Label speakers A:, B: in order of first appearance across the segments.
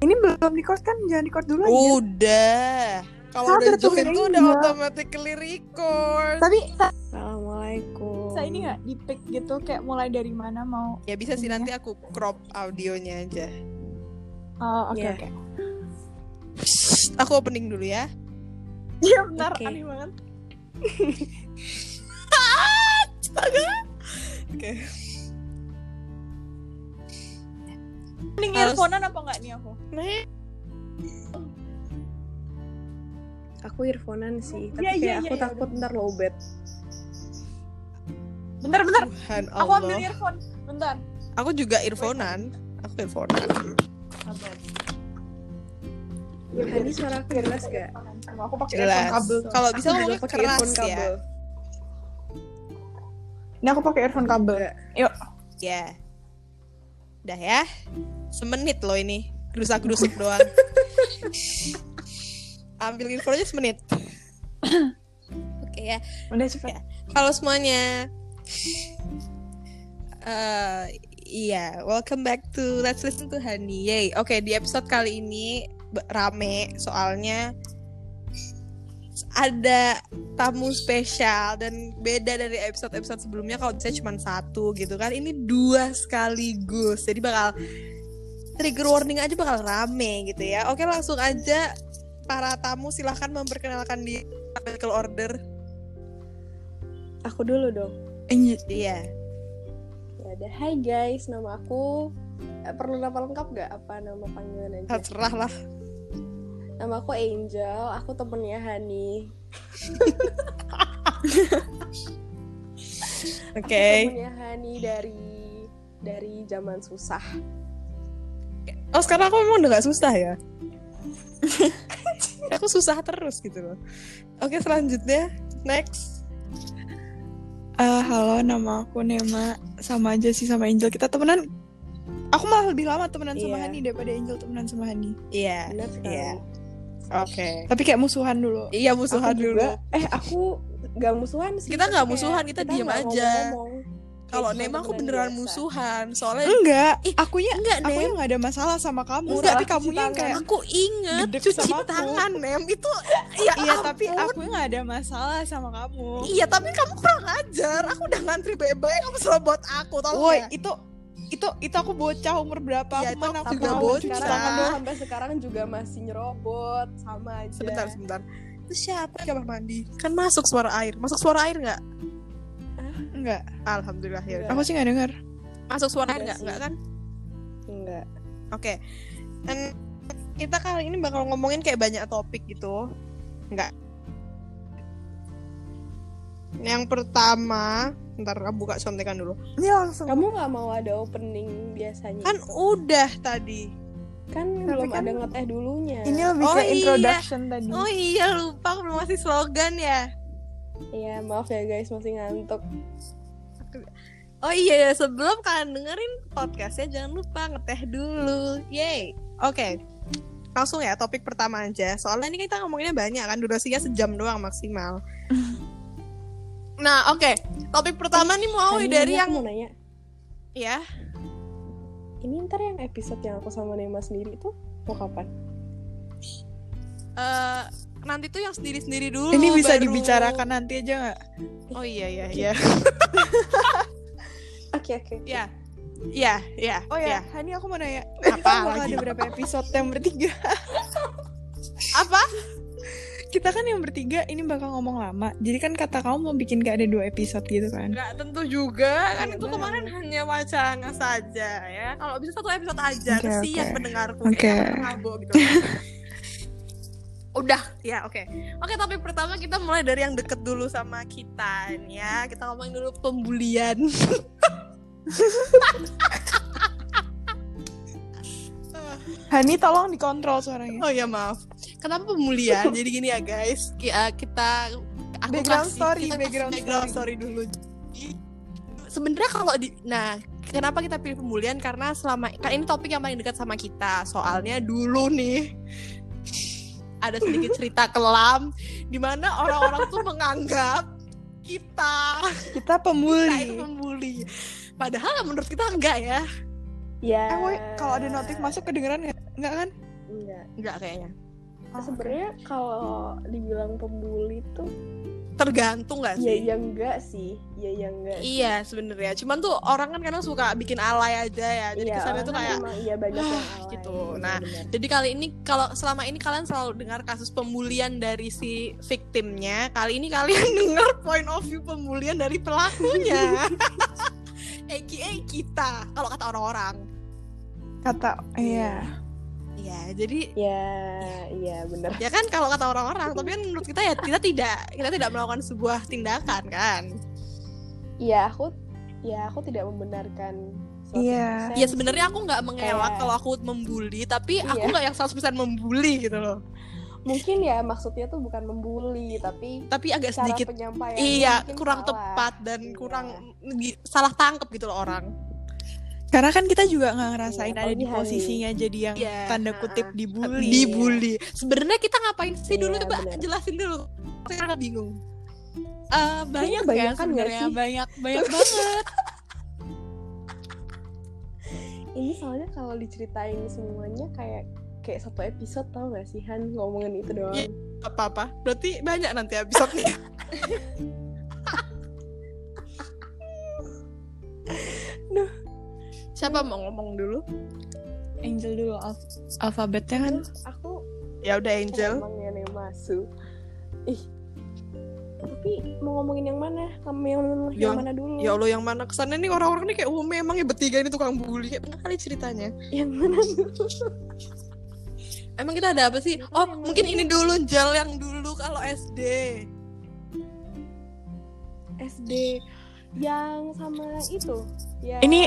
A: belum di course kan jangan di course
B: Iya.
A: dulu
C: Oh.
A: aja.
C: Udah. Kalau
A: Sabar,
C: udah join
A: tungguin
C: tuh udah
A: aja.
C: automatically record.
A: Tapi sa-
D: Assalamualaikum.
A: saya ini nggak di pick gitu kayak mulai dari mana mau.
C: Ya bisa sih
A: Iya.
C: nanti aku crop audionya aja.
A: Oh oke
D: Iya.
A: oke.
C: Psst, aku opening dulu ya.
A: Iya benar
D: Oke.
A: aneh banget.
C: Oke.
A: Mending
C: Harus-
A: earphone-an apa enggak nih aku?
D: Aku earphonean sih, tapi
A: Iya, iya,
D: kayak
A: iya,
D: aku
A: iya,
D: takut ntar lowbat.
A: Bentar bentar.
C: Tuhan
A: Aku ambil
B: ya.
C: Allah.
A: earphone. Bentar.
C: Aku juga earphonean. Aku earphonean.
A: Sabar.
D: Tadi suara aku jelas gak?
A: Aku pakai earphone
C: Jelas.
A: kabel. tuh.
C: Kalau bisa
D: Aku juga
C: ngomongnya
D: pakai
C: keras
D: earphone
C: ya.
D: kabel.
A: Ini aku pakai earphone kabel.
C: Ya. Udah ya. Semenit loh ini. Gerusak-gerusuk doang. Ambil infonya semenit. Oke ya.
A: Udah cepet.
C: Halo semuanya. Eh, Iya, welcome back to Let's Listen to Honey. Yay. Oke, di episode kali ini be- rame soalnya ada tamu spesial dan beda dari episode-episode sebelumnya kalau bisa cuma satu gitu kan. Ini dua sekaligus. Jadi bakal trigger warning aja bakal rame gitu ya. Oke, langsung aja para tamu silahkan memperkenalkan di alphabetical order.
D: Aku dulu dong.
C: Iya.
D: Ya udah, hai guys, nama aku eh, perlu nama lengkap gak? Apa nama panggilan aja?
C: terserah lah
D: Nama aku Angel, aku temennya Hani.
C: oke
D: Aku temennya Hani dari dari zaman susah.
C: oh sekarang aku memang udah gak susah ya aku susah terus gitu loh oke selanjutnya next
B: Eh, halo, nama aku Nema. Sama aja sih sama Angel. Kita temenan. Aku malah lebih lama temenan sama
D: Iya.
B: Hani daripada Angel temenan sama Hani.
C: iya
D: Bener sekali.
C: Iya. oke
B: Tapi kayak musuhan dulu.
C: iya
D: Aku
C: musuhan dulu
D: juga, eh aku gak musuhan sih.
C: Kita nggak
D: tapi kayak
C: musuhan, kita diem
D: nggak
C: aja.
D: ngomong-ngomong.
C: kalau
D: Kayak
C: Nema
D: cuma
C: aku
D: temenan
C: beneran
D: biasa.
C: musuhan soalnya
B: Enggak,
C: Ih,
B: akunya
C: enggak
B: aku
C: Nem
B: yang nggak ada masalah sama kamu,
C: Enggak,
B: tapi kamu yang
D: cuci
B: kayak
C: aku inget
B: Gedek
C: cuci
B: sama aku.
C: tangan Nem itu ya
B: iya,
C: ampun.
B: tapi aku yang nggak ada masalah sama kamu.
C: Iya, tapi kamu kurang ajar. Aku udah ngantri bebek, kamu selalu buat aku, tolong
B: Woi,
C: ya.
B: itu itu itu aku bocah umur berapa? aku
C: Iya, itu
B: mana
C: aku
B: aku
C: juga
B: tahu.
C: bocah.
B: Cuci
D: sekarang
B: tangan
D: aduh,
B: doang.
D: sampai sekarang juga masih nyerobot sama aja
B: iya.
C: Sebentar, sebentar. Itu siapa di kamar mandi? Kan masuk suara air. Masuk suara air nggak?
B: Enggak,
C: Alhamdulillah ya.
D: Enggak.
C: udah.
B: aku sih nggak denger.
C: Masuk suara air nggak?
D: Enggak sih.
C: Nggak kan?
D: enggak
C: Oke. Dan kita kali ini bakal ngomongin kayak banyak topik gitu. Enggak. Yang pertama, ntar aku buka contekan dulu.
A: Ini langsung.
D: kamu nggak mau ada opening biasanya
C: Kan udah tadi.
D: kan belum ada ngeteh dulunya
A: Ini lebih
C: Oh,
A: ke
C: iya.
A: introduction tadi.
C: Oh iya lupa aku belum ngasih slogan ya.
D: ya maaf ya guys masih ngantuk
C: Oh iya sebelum kalian dengerin podcastnya jangan lupa ngeteh dulu. Yay. Oke. Langsung ya topik pertama aja. Soalnya ini kita ngomonginnya banyak kan durasinya sejam doang maksimal. Nah, oke. Topik pertama nih mau
D: Hani,
C: Oh, dari
D: ini
C: yang
D: aku mau nanya
C: ya
D: ini ntar yang episode yang aku sama Nema sendiri itu mau kapan
C: eh, nanti tuh yang sendiri-sendiri dulu.
B: Ini bisa
C: baru-
B: dibicarakan nanti aja nggak?
C: Oh iya iya iya.
D: oke oke
C: Ya. Ya, ya.
B: Oh ya, Hani aku mau nanya. Ini
C: Apa
B: kan bakal
C: Ah, lagi?
B: ada berapa episode yang bertiga?
C: Apa?
B: Kita kan yang bertiga ini bakal ngomong lama. Jadi kan kata kamu mau bikin kayak ada dua episode gitu kan?
C: Enggak tentu juga kan
D: Iya,
C: itu
D: Bang.
C: kemarin hanya wacana saja ya. Kalau bisa satu episode aja
B: Oke,
C: kesian
B: oke.
C: pendengarku
B: Oke.
C: Kayaknya aku pernah mabok gitu. Udah, ya oke. Oke, topik pertama kita mulai dari yang deket dulu sama kita nih ya. Kita ngomongin dulu pembulian.
B: Hani tolong dikontrol suaranya.
C: Oh ya maaf. Kenapa pembulian? Jadi gini ya guys, Ki- uh, kita aku
B: Background story,
C: kita kasih
B: background
C: story dulu. Jadi, Sebenarnya kalau di nah kenapa kita pilih pembulian karena selama kan ini topik yang paling dekat sama kita. Soalnya dulu nih ada sedikit cerita kelam di mana orang-orang tuh menganggap kita
B: Kita
C: kita itu
B: pembuli.
C: pembuli. Padahal menurut kita enggak ya.
D: ya
B: Eh, woi, kalau ada notif masuk kedengeran nggak? Nggak kan?
D: Enggak.
C: Enggak kayaknya. Ah,
D: Sebenarnya kalau dibilang pembuli tuh
C: Tergantung gak Iya
D: ya
C: sih?
D: yang enggak sih. Ya yang enggak. sih.
C: Iya sebenarnya. Cuman tuh orang kan kadang suka bikin alay aja ya. Jadi
D: Iya,
C: kesannya
D: orang
C: tuh
D: kan
C: kayak.
D: emang iya banyak yang
C: "Wah,"
D: alay,
C: gitu.
D: benar-benar.
C: Nah, Jadi kali ini kalau selama ini kalian selalu dengar kasus pembulian dari si victimnya, kali ini kalian dengar point of view pembulian dari pelakunya. AKA kita kalau kata orang-orang.
A: Kata, iya.
C: Iya, jadi
D: ya iya bener.
C: ya kan kalau kata orang-orang, tapi kan menurut kita ya kita tidak kita tidak melakukan sebuah tindakan kan.
D: Iya aku ya aku tidak membenarkan 100%.
A: Iya.
C: Ya sebenarnya aku nggak mengelak
D: Eh.
C: kalau aku membuli, tapi aku
D: Iya.
C: nggak yang 100% membuli gitu loh.
D: mungkin ya maksudnya tuh bukan membuli tapi
C: Tapi agak
D: cara
C: sedikit
D: penyampaian
C: iya kurang tepat dan
D: Iya.
C: kurang di- salah tangkep gitu loh orang.
B: Karena kan kita juga nggak ngerasain
D: Iya,
B: ada di
D: apalagi hari-
B: posisinya jadi yang
C: Iya, Nah,
B: tanda
D: ha-ha.
B: kutip
C: ya.
B: dibully.
C: dibully. Sebenarnya kita ngapain sih dulu
D: Iya,
C: coba
D: benar.
C: jelasin dulu. Saya agak bingung. Eh, banyak
D: banyak
C: ya
D: kan
C: sebenarnya
D: nggak sih?
C: banyak banyak banget.
D: ini soalnya kalau diceritain semuanya kayak kayak satu episode tau gak sih Han ngomongin itu doang
C: Iya. Apa-apa. Berarti banyak nanti episode-nya. Duh. Siapa mau ngomong dulu?
B: Angel dulu alf- alfabetnya kan.
D: Terus aku
C: Ya udah Angel.
D: ngomongin yang masuk ih tapi mau ngomongin yang mana kamu yang, yang
C: Yang-
D: mana dulu
C: Ya Allah yang mana kesannya nih orang-orang nih kayak oh memang ya bertiga ini tukang bully kayak pernah kali ceritanya.
D: yang mana dulu
C: Emang kita ada apa sih? Oh mungkin ini dulu Jel yang dulu kalau SD.
D: SD yang sama itu yang
B: Ini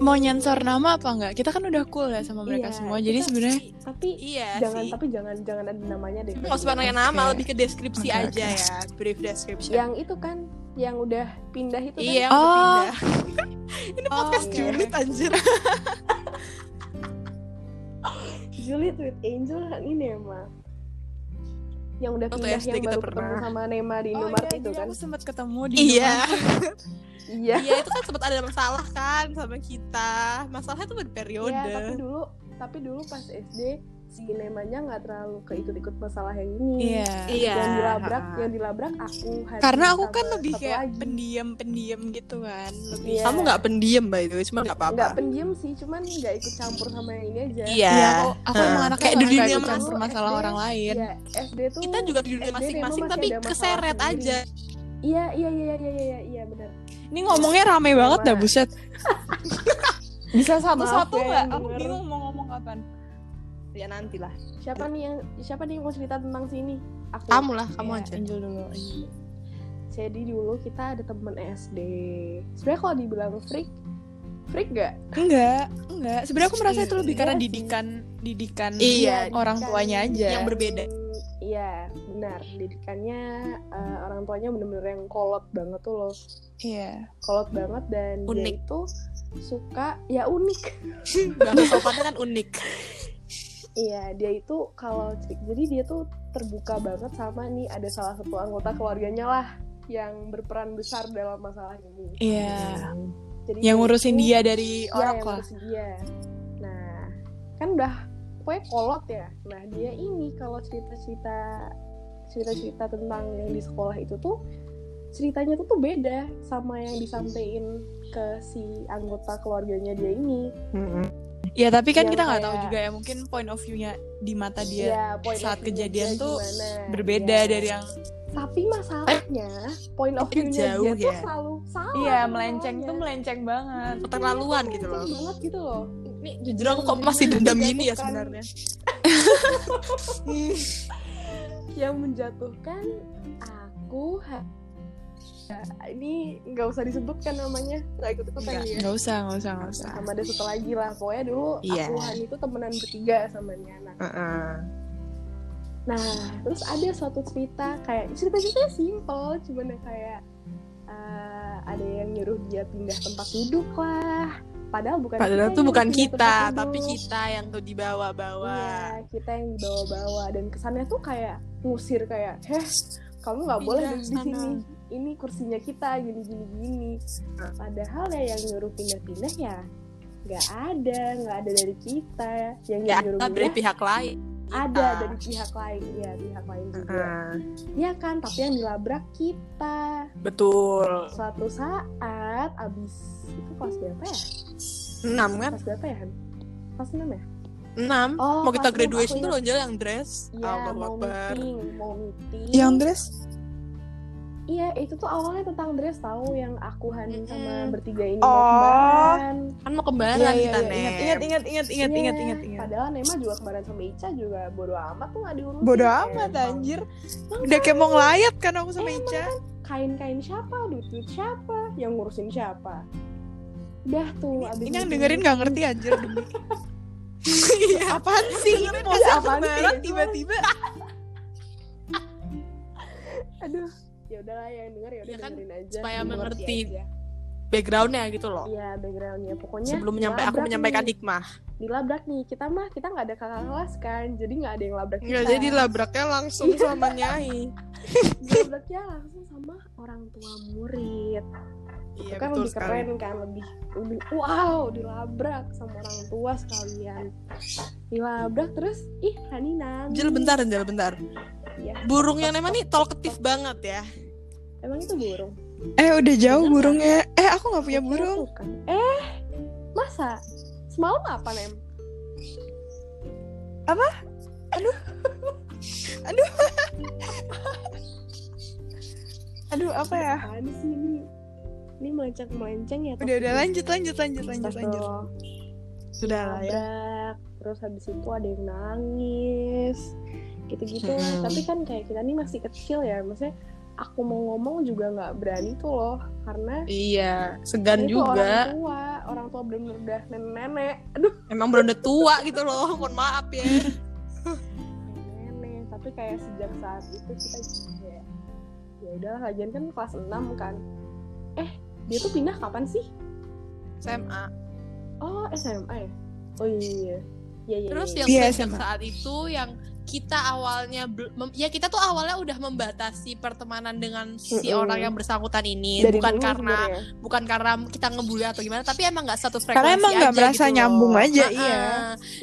B: Mau nyensor nama apa enggak? Kita kan udah cool ya sama mereka
D: Iya,
B: semua. Jadi
D: kita-
B: sebenarnya
D: tapi
C: Iya
D: jangan
C: sih.
D: tapi jangan jangan ada namanya deh
C: Nggak usah nanya
B: Oke.
C: nama, lebih ke deskripsi
B: Oke,
C: aja ya, brief description.
D: yang itu kan yang udah pindah itu
C: iya, yang
D: kan?
B: Oh.
C: berpindah.
B: ini
C: Podcast
D: oke. Iya.
C: julid anjir.
D: Juliet with Angel kan ini Nema yang udah
C: Waktu
D: pindah
C: SD
D: yang
C: kita
D: baru
C: pernah.
D: ketemu sama Nema di
B: Oh iya, Ya
D: Indomaret itu
B: jadi
D: kan
B: aku sempat ketemu di
C: iya,
D: iya
C: iya itu kan sempat ada masalah kan sama kita. Masalahnya tuh berperiode.
D: Iya, tapi dulu tapi dulu pas SD si Nemanya nggak terlalu keikut-ikut masalah yang ini
B: Iya.
C: Iya.
D: yang dilabrak yang dilabrak aku Hani
B: Karena aku kan
D: sama
B: lebih
D: satu
B: kayak
D: lagi.
B: pendiam-pendiam gitu kan. Lebih
D: Iya.
C: Kamu nggak pendiam by the way, cuma nggak apa-apa.
D: nggak pendiam sih cuman nggak ikut campur sama yang ini aja
C: Iya.
B: Iya, aku, aku
C: Heeh.
B: emang anaknya
C: Kayak
B: kayak
C: di dunia
B: ikut campur
D: masa-
B: masalah orang lain.
D: Iya, SD tuh
C: Kita juga di dunia
D: SD
C: masing-masing
D: memang
C: tapi
D: masih ada masalah
C: keseret
D: sendiri.
C: aja.
D: iya iya iya iya iya iya, iya benar
B: Ini ngomongnya rame banget dah,
D: Sama.
B: buset. Bisa
D: satu-satu
B: satu-satu
D: nggak?
B: nggak?
D: Aku
B: Aku
D: bingung
B: bingung mau ngomong kapan.
C: Ya nantilah.
D: siapa nih yang siapa nih yang mau cerita tentang sini aku
C: Kamu lah, kamu
D: Iya.
C: aja.
B: Angel dulu.
D: jadi dulu kita ada temen SD sebenarnya kalau dibilang freak freak gak
B: Enggak, enggak. Sebenarnya aku merasa itu lebih
D: Iya
B: karena
D: sih.
B: didikan didikan
C: Iya,
B: orang tuanya aja.
C: Yang berbeda.
D: iya benar didikannya eh, orang tuanya bener-bener yang kolot banget tuh loh
B: Iya.
D: kolot banget dan
C: Unik.
D: dia itu suka ya unik
C: Bahasa sopannya kan unik.
D: Iya, dia itu kalau cer- jadi dia tuh terbuka banget sama nih ada salah satu anggota keluarganya lah yang berperan besar dalam masalah ini.
B: Iya.
D: Jadi
B: Yang ngurusin
D: itu-
B: dia dari
D: Iya,
B: orang
D: yang
B: lah.
D: ngurusin dia. Nah, kan udah pokoknya kolot ya. Nah, dia ini kalau cerita-cerita cerita-cerita tentang yang di sekolah itu tuh ceritanya tuh tuh beda sama yang disampaikan ke si anggota keluarganya dia ini.
B: Ya, tapi
A: Iya,
B: kan
D: Yang
B: kita nggak tahu
D: kayak-
B: juga ya mungkin point of view-nya di mata dia
D: Iya, point of
B: saat
D: view-nya
B: kejadian
D: dia
B: tuh
D: gimana.
B: berbeda
D: Iya.
B: dari yang
D: tapi masalahnya point of
C: tapi
D: view-nya
C: jauh
D: dia tuh
C: ya.
D: selalu salah
B: Iya, melenceng tuh
D: masalahnya.
B: melenceng banget.
C: Keterlaluan gitu
D: Melenceng
C: loh.
D: banget gitu loh
C: Ini jujur aku kok masih dendam
B: Iya,
C: gini ya sebenarnya.
D: yang menjatuhkan aku ha- Ya, ini nggak usah disebutkan namanya nggak ikut ikutan
A: Iya.
C: Nggak.
D: dia
B: Enggak usah, enggak usah, enggak usah.
D: sama ada satu lagi lah pokoknya dulu
C: Iya.
D: aku Han itu temenan bertiga sama dia nah, nah terus ada suatu cerita kayak cerita ceritanya simpel cuman yang kayak eh, ada yang nyuruh dia pindah tempat duduk lah padahal bukan
C: Padahal
D: kita
C: tuh
D: yang
C: bukan
D: pindah tempat
C: kita, tapi
D: duduk.
C: kita yang tuh dibawa-bawa.
D: Iya, kita yang dibawa-bawa dan kesannya tuh kayak ngusir kayak, heh, kamu nggak boleh
C: Pindah
D: duduk di
C: sana."
D: sini. Ini kursinya kita gini gini gini. Padahal ya yang nyuruh pindah-pindah ya nggak ada nggak ada dari kita yang
C: Ya,
D: nyuruh
C: dari pihak lain.
D: ada
C: kita.
D: dari pihak lain ya pihak lain juga
C: Heeh,
D: Iya kan, tapi yang dilabrak kita.
C: betul.
D: Suatu saat abis itu kelas berapa ya?
C: 6 kan?
D: Kelas berapa ya? Han? Kelas 6 ya?
C: 6.
D: Oh,
C: mau kita
D: kelas enam,
C: graduation
D: aku
C: tuh
D: ingat.
C: loh Jel, yang dress. Ah,
D: Iya,
C: Allahu
D: mau
C: Akbar.
D: meeting, mau meeting.
C: Iya,
A: Yang dress?
D: Iya, itu tuh awalnya tentang dress tahu yang aku Hani sama
C: Mm-mm.
D: bertiga ini
A: Oh.
D: kembaran.
C: Kan mau kembaran
A: Iya, iya, iya.
C: kita, Nep.
A: Ingat, ingat, ingat, ingat,
D: Iya,
A: ingat, ingat, ingat.
D: Padahal Nema juga kembaran sama Ica juga bodo amat tuh nggak diurusin.
A: Bodoh
D: Emang.
A: amat anjir. Udah kayak mau ngelayat kan aku sama
D: Emang
A: Ica.
D: Kain-kain siapa, duit-duit siapa, yang ngurusin siapa? Dah tuh
A: Ini
D: abis
A: yang
D: meeting
A: dengerin gak ngerti anjir. demi. Apaan sih? Ini mau
D: Ada
A: saya
D: apaan sih?
A: kembaran tiba-tiba.
D: aduh ya udahlah yang denger ya udah
C: Ya kan,
D: dengerin aja
C: supaya
D: dimengerti
C: mengerti.
D: aja.
C: Backgroundnya gitu loh.
D: iya backgroundnya pokoknya
C: Sebelum menyampa- aku
D: dilabrak
C: menyampaikan
D: nih,
C: hikmah.
D: dilabrak nih kita mah kita nggak ada kakak kelas kan jadi nggak ada yang labrak kita
C: Enggak jadi labraknya langsung
D: Iya.
C: sama Nyai.
D: dilabraknya langsung sama orang tua murid itu
A: Ya,
C: Iya,
D: kan
C: betul
D: lebih
C: sekali.
D: keren kan lebih lebih wow dilabrak sama orang tua sekalian dilabrak terus ih Hani nangis
C: Jel bentar, Jel bentar.
D: Iya.
C: Burung yang emang nih talkative banget ya.
D: emang itu burung
A: Eh udah jauh burungnya. Eh aku gak punya
D: Kira
A: burung.
D: bukan. eh masa semalam apa nem
A: Aduh apa ya?
D: Apaan sih ini? Ini melenceng-melenceng ya
A: Udah udah lanjut lanjut lanjut lanjut lanjut. Nah,
C: Sudah lah ya.
D: Labrak, terus habis itu ada yang nangis. Gitu-gitu.
C: Hmm.
D: Tapi kan kayak kita nih masih kecil ya, maksudnya aku mau ngomong juga nggak berani tuh loh karena
C: Iya, segan
D: itu
C: juga.
D: orang tua, orang tua bener-bener udah nenek-nenek. Aduh,
C: Emang bener tua gitu loh. Mohon maaf ya.
D: nenek. Tapi kayak sejak saat itu kita juga ya. Ya udah lagian kan kelas 6 kan. Eh, dia tuh pindah kapan sih?
C: SMA.
D: Oh, SMA ya? Oh iya. Iya, iya.
C: Terus
D: iya.
C: yang
A: Iya,
C: sejak
A: sama.
C: saat itu yang kita awalnya bel- mem- ya kita tuh awalnya udah membatasi pertemanan dengan si
D: Mm-mm.
C: orang yang bersangkutan ini
D: iya.
C: ya,
D: Dari
C: bukan
D: dulu
C: karena
D: sebenarnya.
C: bukan karena kita ngebully atau gimana tapi emang nggak satu frekuensi
A: Karena emang nggak
C: aja
A: merasa
C: gitu loh.
A: nyambung aja,
C: Ha-ha.
A: iya.
D: Iya,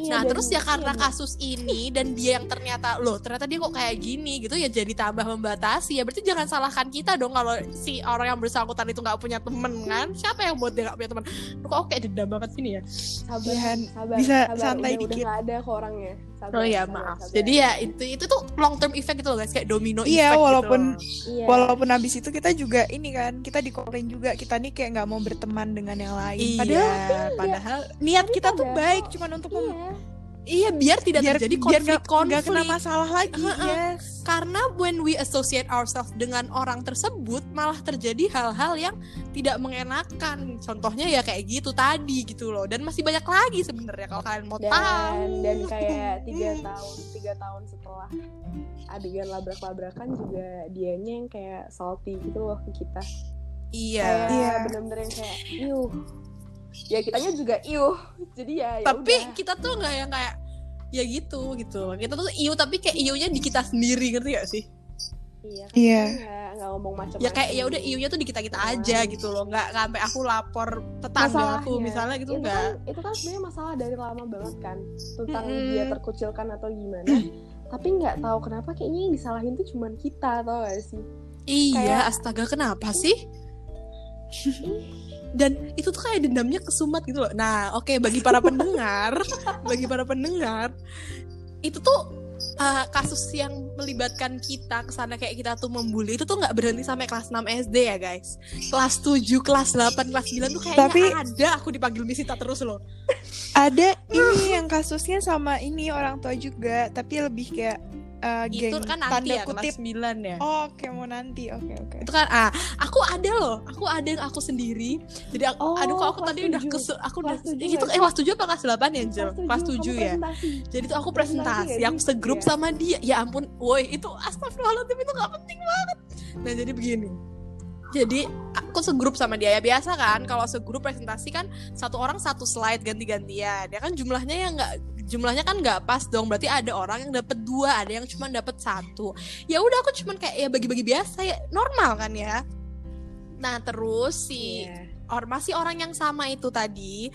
C: Nah
D: dari
C: terus ya
D: dulu,
C: karena
D: iya.
C: kasus ini dan dia yang ternyata loh ternyata dia kok kayak gini gitu ya jadi tambah membatasi ya berarti jangan salahkan kita dong kalau si orang yang bersangkutan itu nggak punya temen kan siapa yang buat dia nggak punya teman kok oke dendam banget sini ya
D: sabar,
A: Ya, Han.
D: sabar,
A: Bisa
D: sabar.
A: santai
D: udah,
A: dikit.
D: Udah gak ada ke orangnya. Sabar,
C: Oh ya
D: sabar,
C: maaf.
D: sabar.
C: Jadi ya itu itu tuh long term effect gitu loh guys kayak domino
A: Iya,
C: effect
A: walaupun
C: gitu.
D: Iya.
A: Walaupun abis itu kita juga ini kan kita dikomplain juga kita nih kayak nggak mau berteman dengan yang lain.
C: Iya,
A: Padahal
C: padahal
A: niat
D: Tapi
A: kita tuh
D: padahal-
A: baik cuman untuk mem-
D: Iya.
C: iya biar tidak
A: biar
C: terjadi
A: biar nggak-
C: konflik-konflik
A: nggak kena masalah lagi. Yes.
C: karena when we associate ourselves dengan orang tersebut malah terjadi hal-hal yang tidak mengenakan. Contohnya ya kayak gitu tadi gitu loh dan masih banyak lagi sebenarnya kalau kalian mau
D: Dan,
C: tahu.
D: dan kayak tiga tahun, tiga tahun setelah adegan labrak-labrakan juga dianya yang kayak salty gitu loh ke kita.
C: Iya.
D: Kayak
A: Iya.
D: bener-bener yang kayak, iuh. Ya kitanya juga iuh. Jadi ya, ya
C: tapi
D: udah.
C: kita tuh nggak yang kayak ya gitu gitu. Kita tuh iu tapi kayak iunya di kita sendiri ngerti gak sih?
D: Iya. kan
A: Iya.
D: kita nggak- nggak ngomong macam-macam.
C: ya kayak ya udah iunya tuh di kita kita aja gitu loh nggak nggak sampai aku lapor tetangga aku
D: Masalahnya,
C: misalnya gitu
D: itu
C: nggak
D: kan, itu kan sebenarnya masalah dari lama banget kan tentang
C: Mm-mm.
D: dia terkucilkan atau gimana tapi nggak tahu kenapa kayaknya yang disalahin tuh cuman kita tau gak sih
C: iya
D: kayak-
C: astaga kenapa sih
D: Ih,
C: dan itu tuh kayak dendamnya kesumat gitu loh nah oke bagi para pendengar bagi para pendengar itu tuh uh, kasus yang melibatkan kita kesana kayak kita tuh membuli itu tuh nggak berhenti sampai kelas 6 SD ya guys kelas 7 kelas 8 kelas 9 tuh kayaknya
A: Tapi-
C: ada aku dipanggil misita terus loh
A: Ada ini yang kasusnya sama ini orang tua juga tapi lebih kayak eh, geng
C: itu kan nanti
A: tanda
C: ya
A: kutip.
C: kelas 9 ya
A: Oh, oke mau nanti. Oke oke.
C: itu kan ah aku ada loh aku ada yang aku sendiri jadi aku,
D: Oh,
C: aduh kok aku
D: kelas
C: tadi udah
D: tujuh.
C: kesu aku
D: Kelas
C: udah
D: tujuh
C: itu
D: ya?
C: eh kelas 7 apa kelas 8 ya Jel?
D: tujuh,
C: kelas 7
D: kamu
C: ya
D: presentasi.
C: jadi tuh aku
D: Presentasi
C: presentasi
D: ya,
C: aku
D: Jel?
C: segrup
D: Iya.
C: sama dia ya ampun woi itu astagfirullahaladzim itu gak penting banget nah jadi begini jadi aku segrup sama dia ya biasa kan kalau segrup presentasi kan satu orang satu slide ganti-gantian ya kan jumlahnya ya nggak jumlahnya kan nggak pas dong berarti ada orang yang dapat dua ada yang cuma dapat satu ya udah aku cuman kayak ya bagi-bagi biasa ya normal kan ya nah terus si
D: Iya.
C: or masih orang yang sama itu tadi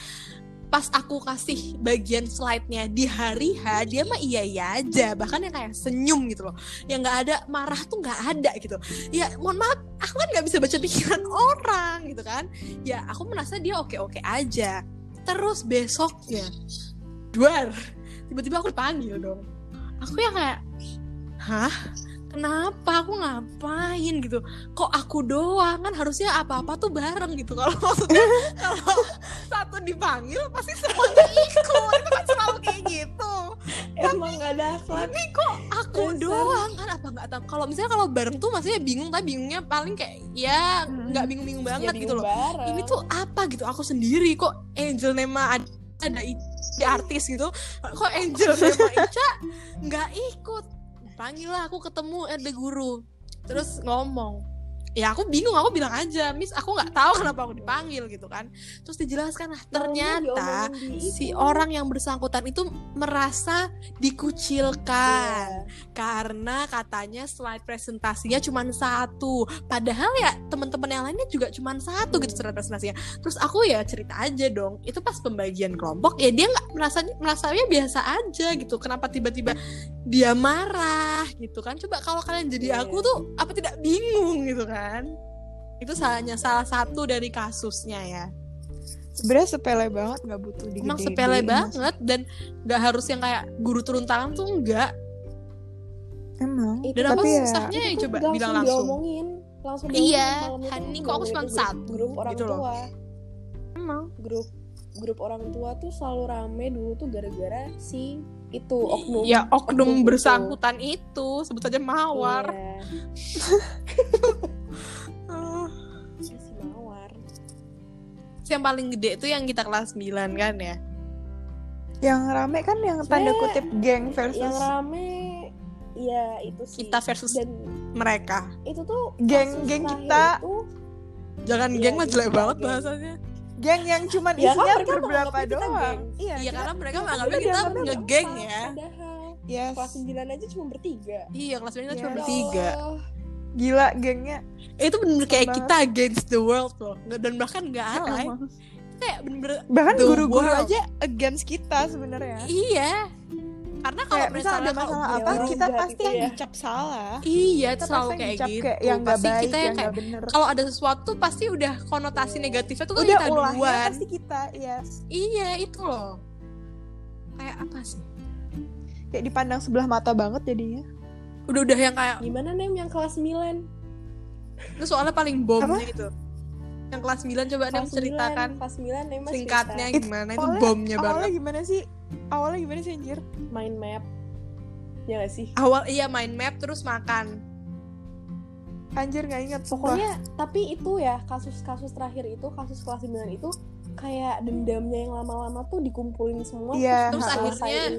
C: pas aku kasih bagian slide-nya di hari H dia mah iya iya aja bahkan yang kayak senyum gitu loh yang nggak ada marah tuh nggak ada gitu ya mohon maaf aku kan nggak bisa baca pikiran orang gitu kan ya aku merasa dia oke oke aja terus besoknya duar tiba-tiba aku dipanggil dong aku yang kayak hah kenapa aku ngapain gitu kok aku doang kan harusnya apa-apa tuh bareng gitu kalau maksudnya kalau satu dipanggil pasti semuanya ikut itu kan selalu kayak gitu
D: Iya.
E: Emang gak ada akhlak.
C: tapi kok aku
E: Dasar.
C: doang kan apa nggak tahu kalau misalnya kalau bareng tuh maksudnya bingung tapi bingungnya paling kayak ya nggak bingung-bingung banget gitu loh ini tuh apa gitu aku sendiri kok Angel Nema ada, ada I- di artis gitu kok Angel Nema Ica nggak ikut panggil lah aku ketemu ada guru terus ngomong ya aku bingung aku bilang aja miss aku nggak tahu kenapa aku dipanggil gitu kan terus dijelaskan
D: iya, ya
C: lah ternyata si orang yang bersangkutan itu merasa
D: Iya.
C: dikucilkan karena katanya slide presentasinya cuma satu padahal ya teman-teman yang lainnya juga cuma satu gitu slide presentasinya terus aku ya cerita aja dong itu pas pembagian kelompok ya dia nggak merasa merasanya biasa aja gitu kenapa tiba-tiba dia marah gitu kan coba kalau kalian jadi
B: Iya,
C: aku tuh apa tidak bingung gitu kan itu salahnya salah satu dari kasusnya ya
B: Sebenernya sepele banget nggak butuh di
C: emang sepele banget dan nggak harus yang kayak guru turun tangan tuh enggak
B: Emang.
C: dan
B: Tapi
C: apa
B: ya,
C: susahnya ya coba bilang langsung
D: diomongin langsung
C: Iya,
D: diomongin malam
C: Hani,
D: itu,
C: kok
D: malam
C: aku
D: itu
C: cuma
D: grup-
C: satu,
D: grup orang
C: gitu loh.
D: tua
C: emang
D: grup grup orang tua tuh selalu rame dulu tuh gara-gara si itu oknum
C: ya
D: oknum
C: oknum
D: itu.
C: bersangkutan itu sebut aja mawar
D: Iya.
B: Oh.
C: Ah.
D: Iya, si mawar
C: Terus yang paling gede itu yang kita kelas 9 kan ya
B: Yang rame kan yang tanda
D: Sebenarnya
B: kutip geng versus
D: yang rame ya itu sih
C: kita versus
D: dan
C: mereka
D: itu tuh
B: Geng-
D: kasus
B: geng
D: terakhir
B: kita.
D: itu,
C: jangan
D: Iya,
C: geng lah
D: iya,
C: jelek
D: iya,
C: banget
D: geng.
C: bahasanya
B: geng yang cuman
D: Ya, kan
B: isinya
D: mereka
B: berberapa
D: menganggapnya kita
B: doang. Iya.
C: iya karena mereka
D: Tapi
C: menganggapnya
D: dia
C: kita
D: ngambil
C: ngegeng
D: empat,
C: ya
D: padahal
B: Yes.
D: kelas 9 aja cuma bertiga
C: iya kelas 9 kita cuma
B: Iya.
C: bertiga
D: Ya Allah.
B: Gila gengnya.
C: itu bener kayak
B: Banget.
C: kita against the world loh Nggak- dan bahkan nggak alay kayak bener-bener
B: Bahkan
C: The
B: guru-guru
C: world.
B: aja against kita sebenarnya.
C: Iya. Karena kalau
B: Kayak misal
C: misalnya
B: ada
C: kalau
B: masalah
D: guru
B: apa, kita
D: enggak
B: pasti
D: gitu
B: yang
D: ya.
B: dicap salah.
C: iya itu
B: Kita
C: selalu
B: pasti yang
C: kayak
B: dicap
C: gitu.
B: kayak yang nggak
C: pasti
B: baik,
C: kita
B: yang
C: yang kayak
B: nggak bener.
C: kalau ada sesuatu pasti udah konotasi negatifnya tuh kan
B: Udah
C: kita
B: ulahnya
C: duluan.
B: pasti kita, yes.
C: Iya, itu loh. Kayak apa sih?
B: Kayak dipandang sebelah mata banget jadinya.
C: Udah-udah yang kayak
D: gimana nem yang kelas 9
C: itu soalnya paling bomnya itu. Yang kelas 9 coba Nam
D: kelas 9
C: ceritakan
D: kelas 9 nem cerita.
C: singkatnya
B: cerita.
C: gimana itu
B: Awalnya-
C: bomnya
B: Awalnya
C: banget.
B: gimana sih? Awalnya gimana sih anjir?
D: main map ya gak sih
C: Awal iya main map terus makan.
B: Anjir nggak ingat sumpah.
D: pokoknya tapi itu ya kasus-kasus terakhir itu kasus kelas 9 itu kayak dendamnya yang lama-lama tuh dikumpulin semua
B: Iya.
C: Terus
D: terus
C: akhirnya,
D: diselesain.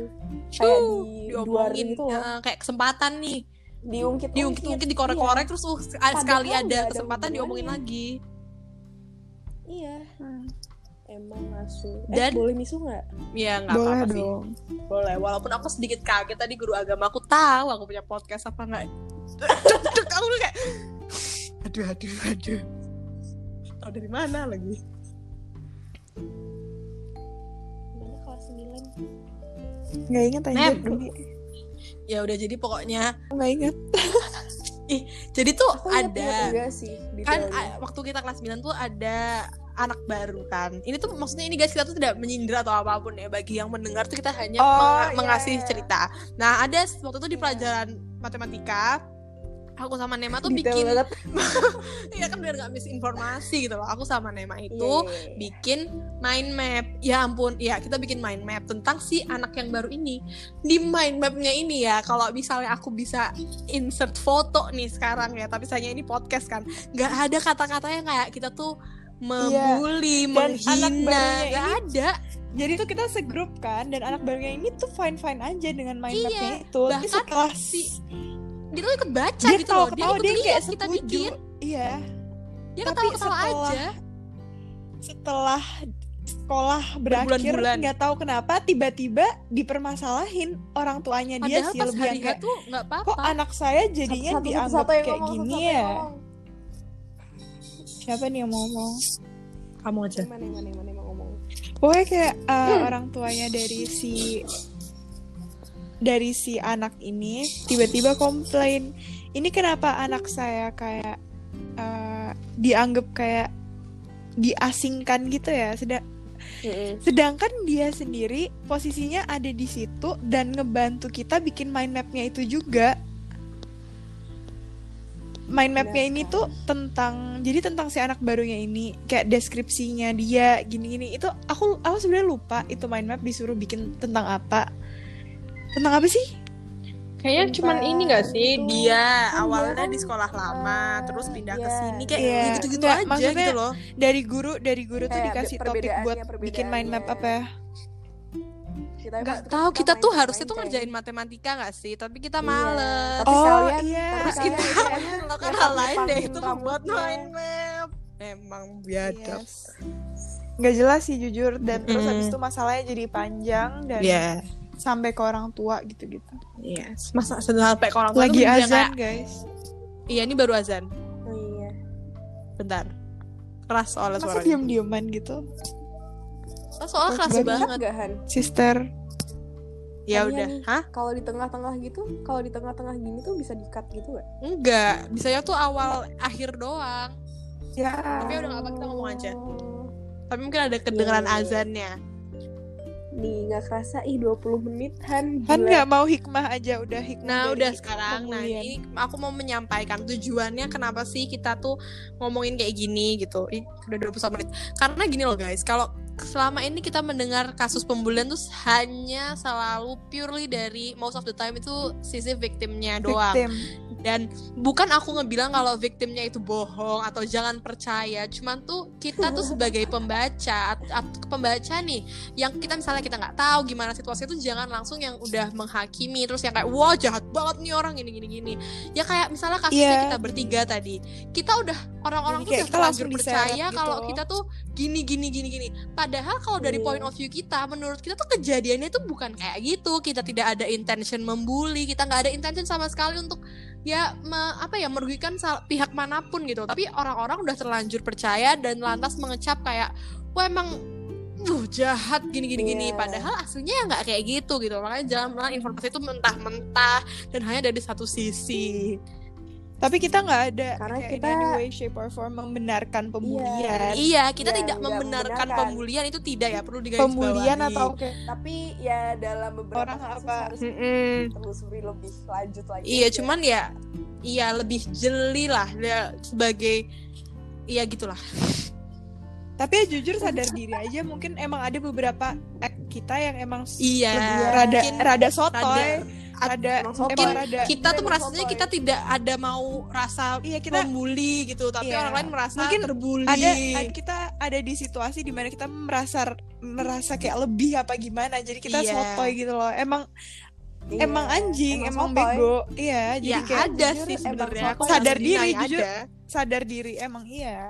D: kayak
C: Cuh,
D: di gitu.
C: diomongin
D: itu loh
C: eh, kayak kesempatan nih.
D: diungkit
C: Diungkit-ungkit
D: Iya.
C: dikorek-korek terus uh, sekali
D: Padahal nggak
C: ada
D: ada
C: kesempatan
D: hubungannya.
C: diomongin lagi.
D: iya
B: Hmm.
D: emang masuk eh,
C: Dan-
D: boleh misu nggak
C: Iya nggak
B: Boleh
C: apa-apa sih.
B: dong.
C: Boleh. Walaupun aku sedikit kaget tadi guru agama aku tahu aku punya podcast apa nggak. Cuk-cuk aku tuh kayak. Aduh aduh aduh. Tahu dari mana lagi?
D: gimana kelas 9
B: Nggak ingat anjir.
C: Mem.
B: demi.
C: Ya udah jadi pokoknya.
B: Nggak ingat.
C: Jadi tuh
D: aku ingat
C: Oh, ada
D: juga sih
B: Gitu
C: kan
D: detailnya.
C: a- waktu kita kelas 9 tuh ada anak baru kan. Ini tuh maksudnya ini guys kita tuh tidak menyindir atau apapun ya bagi yang mendengar tuh kita hanya
B: Oh,
C: menga-
B: iya,
C: mengasih
B: iya.
C: cerita. Nah, ada s- waktu itu di pelajaran matematika aku sama Nema tuh
B: Detail
C: bikin
B: banget.
C: Iya kan biar nggak misinformasi gitu loh. Aku sama Nema itu
D: Iya.
C: bikin mind map. Ya ampun, ya kita bikin mind map tentang si anak yang baru ini. Di mind mapnya ini ya, kalau misalnya aku bisa insert foto nih sekarang ya, tapi sayangnya ini podcast kan, nggak ada kata-kata yang kayak kita tuh membuli,
B: Iya, Dan anak
C: menghina,
B: barunya
C: nggak
B: ini
C: ada.
B: Jadi tuh kita segrup kan dan anak barunya ini tuh fine fine aja dengan main
C: Iya,
B: mapnya itu. Tapi
C: bahkan
B: setelah
C: si- Dia tuh ikut baca
B: dia
C: gitu
B: ketawa
C: loh. Dia
B: ketawa
C: ikut
B: dia, kayak
C: lihat kita
B: setuju.
C: bikin.
B: Iya.
C: Dia
B: Tapi
C: ketawa-ketawa
B: setelah
C: aja.
B: Setelah sekolah berakhir
C: Berbulan-bulan.
B: nggak tahu kenapa tiba-tiba dipermasalahin orang tuanya dia
C: Padahal
B: sih
C: pas
B: lebih
C: hari
B: yang kayak
C: H tuh nggak apa-apa.
B: kok anak saya jadinya
D: Satu- satu-
B: dianggap
D: satu yang
B: kayak
D: ngomong,
B: gini
D: satu yang
B: ya
D: ngomong.
B: siapa nih yang mau ngomong
C: Kamu aja.
D: Mana, mana, mana, mana ngomong.
B: Pokoknya kayak uh, orang tuanya dari si dari si anak ini tiba-tiba komplain, ini kenapa anak saya kayak uh, dianggap kayak diasingkan gitu ya. Sedang
D: Mm-mm.
B: sedangkan dia sendiri posisinya ada di situ dan ngebantu kita bikin mind mapnya itu juga
D: Iya
B: mind mapnya ini tuh tentang jadi tentang si anak barunya ini kayak deskripsinya dia gini-gini itu aku aku sebenarnya lupa itu mind map disuruh bikin tentang apa tentang apa sih
C: Kayaknya cuman
D: Tempat
C: ini gak Iya sih
D: itu.
C: dia
D: Kan
C: awalnya
D: dia
C: di sekolah lama
D: eh,
C: terus pindah ke
D: iya.
C: sini kayak
B: Iya.
C: ya gitu-gitu
B: Nggak,
C: aja
B: maksudnya-
C: gitu loh.
B: dari guru dari guru tuh
D: Kayak
B: dikasih topik
D: perbedaannya-
B: buat bikin mind map
D: perbedaannya.
B: apa ya
D: Kita
C: Gak
D: maksudnya
C: tahu kita tuh
D: main-
C: harusnya tuh
D: main
C: ngerjain matematika gak sih? Tapi kita
D: Iya.
C: males.
D: Tapi
B: oh
D: kalian-
B: iya
D: tapi
C: Terus
D: kalian
C: kita
D: kayaknya
C: lo kan
D: ya,
C: hal lain deh
D: pampin
C: itu membuat
D: rambutnya.
C: mind map. Emang biadab.
B: Yes. nggak jelas sih jujur dan terus
C: Mm-mm. Iya,
B: habis itu masalahnya jadi panjang dan sampai ke orang tua gitu-gitu.
C: Yes. Masa sampai ke orang tua
B: Lagi
C: tuh bener-bener
B: azan
C: kayak,
B: guys.
C: Iya, ini baru azan.
D: Oh, iya.
C: Bentar. Keras soalnya
B: Masa
C: suaranya.
B: diem-dieman gitu?
C: Oh, soalnya keras
B: Baru-
C: banget.
D: Gak, Han?
B: Sister,
C: Ya
D: Iya
C: udah.
D: nih.
C: Hah?
D: Kalau di tengah-tengah gitu, kalau di tengah-tengah gini tuh bisa di-cut gitu gak?
C: Enggak. Bisanya tuh awal akhir doang.
B: ya
C: Tapi udah gak apa kita ngomong aja.
D: Oh,
C: Tapi mungkin ada kedengeran
D: Iya.
C: azannya.
D: Nih, gak kerasa ih 20 menit, Han.
B: kan
D: Gila.
B: nggak mau hikmah aja udah hikmah.
C: Nah,
B: dari
C: udah sekarang. Nah,
B: pemulihan.
C: ini aku mau menyampaikan tujuannya kenapa sih kita tuh ngomongin kayak gini gitu. Ih, udah 21 menit. Karena gini loh, guys. Kalau selama ini kita mendengar kasus pembulian tuh hanya selalu purely dari most of the time itu sisi victimnya doang.
B: Victim.
C: dan bukan aku ngebilang kalau victimnya itu bohong atau jangan percaya cuman tuh kita tuh sebagai pembaca at- at- pembaca nih yang kita misalnya kita nggak tahu gimana situasi itu jangan langsung yang udah menghakimi terus yang kayak wah jahat banget nih orang gini gini gini ya kayak misalnya kasusnya
B: Iya.
C: kita bertiga tadi kita udah orang-orang
B: Jadi
C: tuh
B: kayak
C: udah
B: kita
C: terlanjur
B: langsung
C: percaya
B: diseret gitu
C: kalau
B: loh.
C: kita tuh gini gini gini gini padahal kalau dari
D: Iya.
C: point of view kita menurut kita tuh kejadiannya tuh bukan kayak gitu kita tidak ada intention membuli kita nggak ada intention sama sekali untuk ya me- apa ya merugikan sal- pihak manapun gitu tapi orang-orang udah terlanjur percaya dan lantas mengecap kayak wah emang uh jahat gini gini gini
D: Iya.
C: padahal aslinya ya nggak kayak gitu gitu makanya jangan menelan informasi itu mentah-mentah dan hanya dari satu sisi
B: Tapi kita nggak ada
D: Karena
B: kayak
D: kita-
B: in any way shape or form membenarkan pembulian.
C: iya kita
D: Iya,
C: tidak
D: nggak
C: membenarkan
D: membenarkan.
C: pembulian itu tidak ya perlu digarisbawahi
B: Pembulian atau kayak
D: Tapi ya dalam beberapa
B: Orang
D: kasus
B: apa?
D: harus
C: Mm-mm.
D: ditelusuri lebih lanjut lagi.
C: Iya,
D: aja.
C: cuman ya iya lebih jeli lah ya, sebagai iya gitulah.
B: tapi ya jujur sadar diri aja mungkin emang ada beberapa act kita yang emang
C: Iya.
B: lebih ya, rada
C: Mungkin
B: rada sotoy,
C: rada-
B: rada
D: Emang sotoy.
B: emang rada
C: Kita tuh
D: Memang
C: merasanya
D: sotoy.
C: kita tidak ada mau rasa
B: iya kita
C: membuli gitu, tapi
B: Iya.
C: orang lain merasa
B: Mungkin
C: terbuli.
B: ada ada- kita ada di situasi dimana kita merasa merasa kayak lebih apa gimana jadi kita
C: Iya.
B: sotoy gitu loh emang
D: Iya.
B: emang anjing emang,
D: sotoy.
B: bego iya jadi
C: ya
B: kayak
C: ada
D: jujur,
C: sih
D: emang
C: sebenarnya.
D: sotoy.
C: Aku nggak
B: Sadar
C: deny
B: diri, jujur.
C: ada.
B: sadar diri emang iya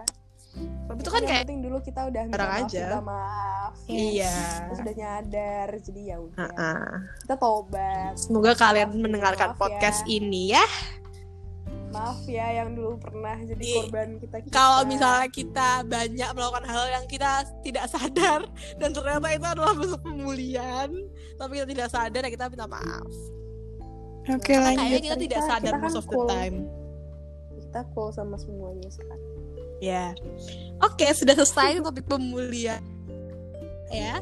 C: Tapi itu kan
D: yang
C: kayak
D: penting dulu kita udah minta
C: Barang
D: maaf,
C: aja.
D: minta maaf.
C: iya.
D: Terus udah nyadar, jadi ya udah.
C: Ah.
D: Kita tobat.
C: Semoga kalian
D: Maaf,
C: mendengarkan
D: maaf ya.
C: podcast ini ya.
D: Maaf ya yang dulu pernah jadi
C: Iya.
D: korban kita.
C: Kalau misalnya kita banyak melakukan hal yang kita tidak sadar dan ternyata itu adalah bentuk pemulihan, tapi kita tidak sadar ya kita minta maaf.
B: oke
C: Karena
B: lanjut
C: kayaknya kita
D: Kita-
C: tidak sadar
D: kita kan
C: most of the
D: cool.
C: time.
D: kita cool sama semuanya sekarang.
C: Ya. Oke, sudah selesai topik pemulihan. Ya.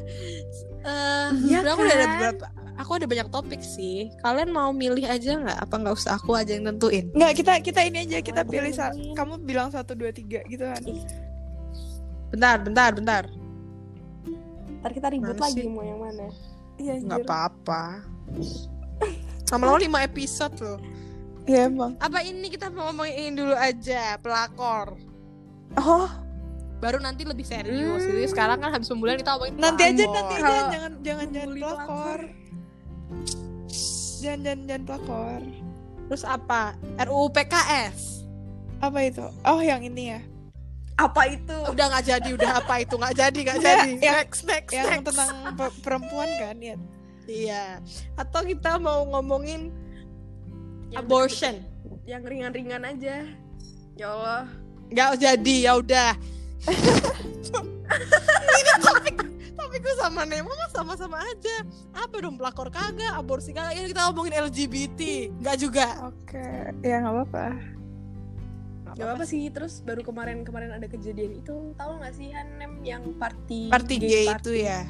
C: Eh,
B: Iya
C: sebenarnya aku udah ada
B: kan?
C: beberapa aku ada banyak topik sih. Kalian mau milih aja nggak? Apa nggak usah aku aja yang tentuin?
B: nggak kita kita ini aja kita pilih sa-
D: Aduh.
B: kamu bilang satu dua tiga gitu kan
C: Bentar, bentar, bentar.
D: Ntar kita ribut
C: Mana
D: lagi
C: sih?
D: mau yang mana?
B: iya
C: Nggak
B: anjir.
C: apa-apa. Sama lo 5 episode loh.
B: iya emang
C: Apa ini kita mau ngomongin dulu aja pelakor.
B: oh
C: Baru nanti lebih serius. Jadi sekarang kan habis pembulihan kita ngomongin
B: nanti aja
C: pelakor.
B: nanti aja
F: Kalau
B: jangan jangan jangan
F: pembuli
B: pelakor jangan jangan jangan pelakor
C: Terus apa? RUU PKS.
B: apa itu oh yang ini ya
D: Apa itu?
C: Udah nggak jadi, udah apa itu nggak jadi, nggak
B: Nggak,
C: jadi.
B: yang-
C: next, next,
B: yang
C: next.
B: tentang pe- perempuan kan ya
C: Iya. Atau kita mau ngomongin abortion.
D: Yang ringan-ringan aja. Ya Allah.
C: Nggak jadi, ya udah. Ini topik topik gue sama Nemo mah sama-sama aja. Apa dong pelakor kagak, aborsi kagak. Ini kita ngomongin LGBT, nggak juga.
B: Oke, ya nggak apa-apa.
D: Gak apa-apa sih. Terus baru kemarin-kemarin ada kejadian itu, tahu nggak sih Hanem yang party
C: Party gay itu
D: party?
C: ya.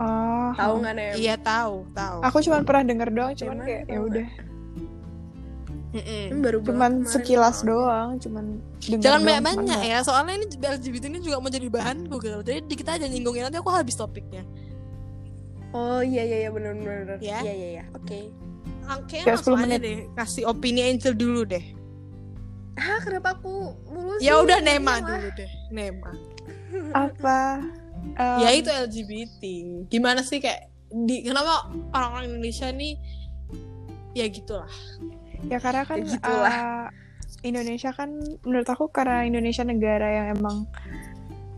B: Oh,
D: Tahu nggak Nem?
C: Iya tahu, tahu.
B: aku cuma pernah denger doang, cuman
D: Cuman
B: kayak
D: tahu
B: ya udah,
C: Mm-mm.
D: Ini Baru banget
B: cuman
D: kemarin.
B: sekilas doang, cuman denger
C: Jangan
B: doang, cuman
C: banyak-banyak
B: nggak-
C: ya, soalnya ini LGBT ini juga mau jadi bahan Google. Jadi dikit aja nyinggungin nanti aku habis topiknya.
D: Oh iya iya iya benar benar. benar.
C: Ya.
D: Iya iya iya. Oke.
B: Kayak
C: Ang- Kayaknya langsung
B: 10
C: aja
B: menit.
C: deh, kasih opini Angel dulu deh.
D: Hah Ah, kenapa aku mulu sih? Iya.
C: Ya udah Nema
D: Kenapa?
C: dulu deh, Nema.
B: Apa?
C: ya itu LGBT gimana sih kayak di kenapa orang-orang Indonesia nih ya gitulah
B: ya karena kan
D: Ya gitulah.
B: uh, Indonesia kan menurut aku karena Indonesia negara yang emang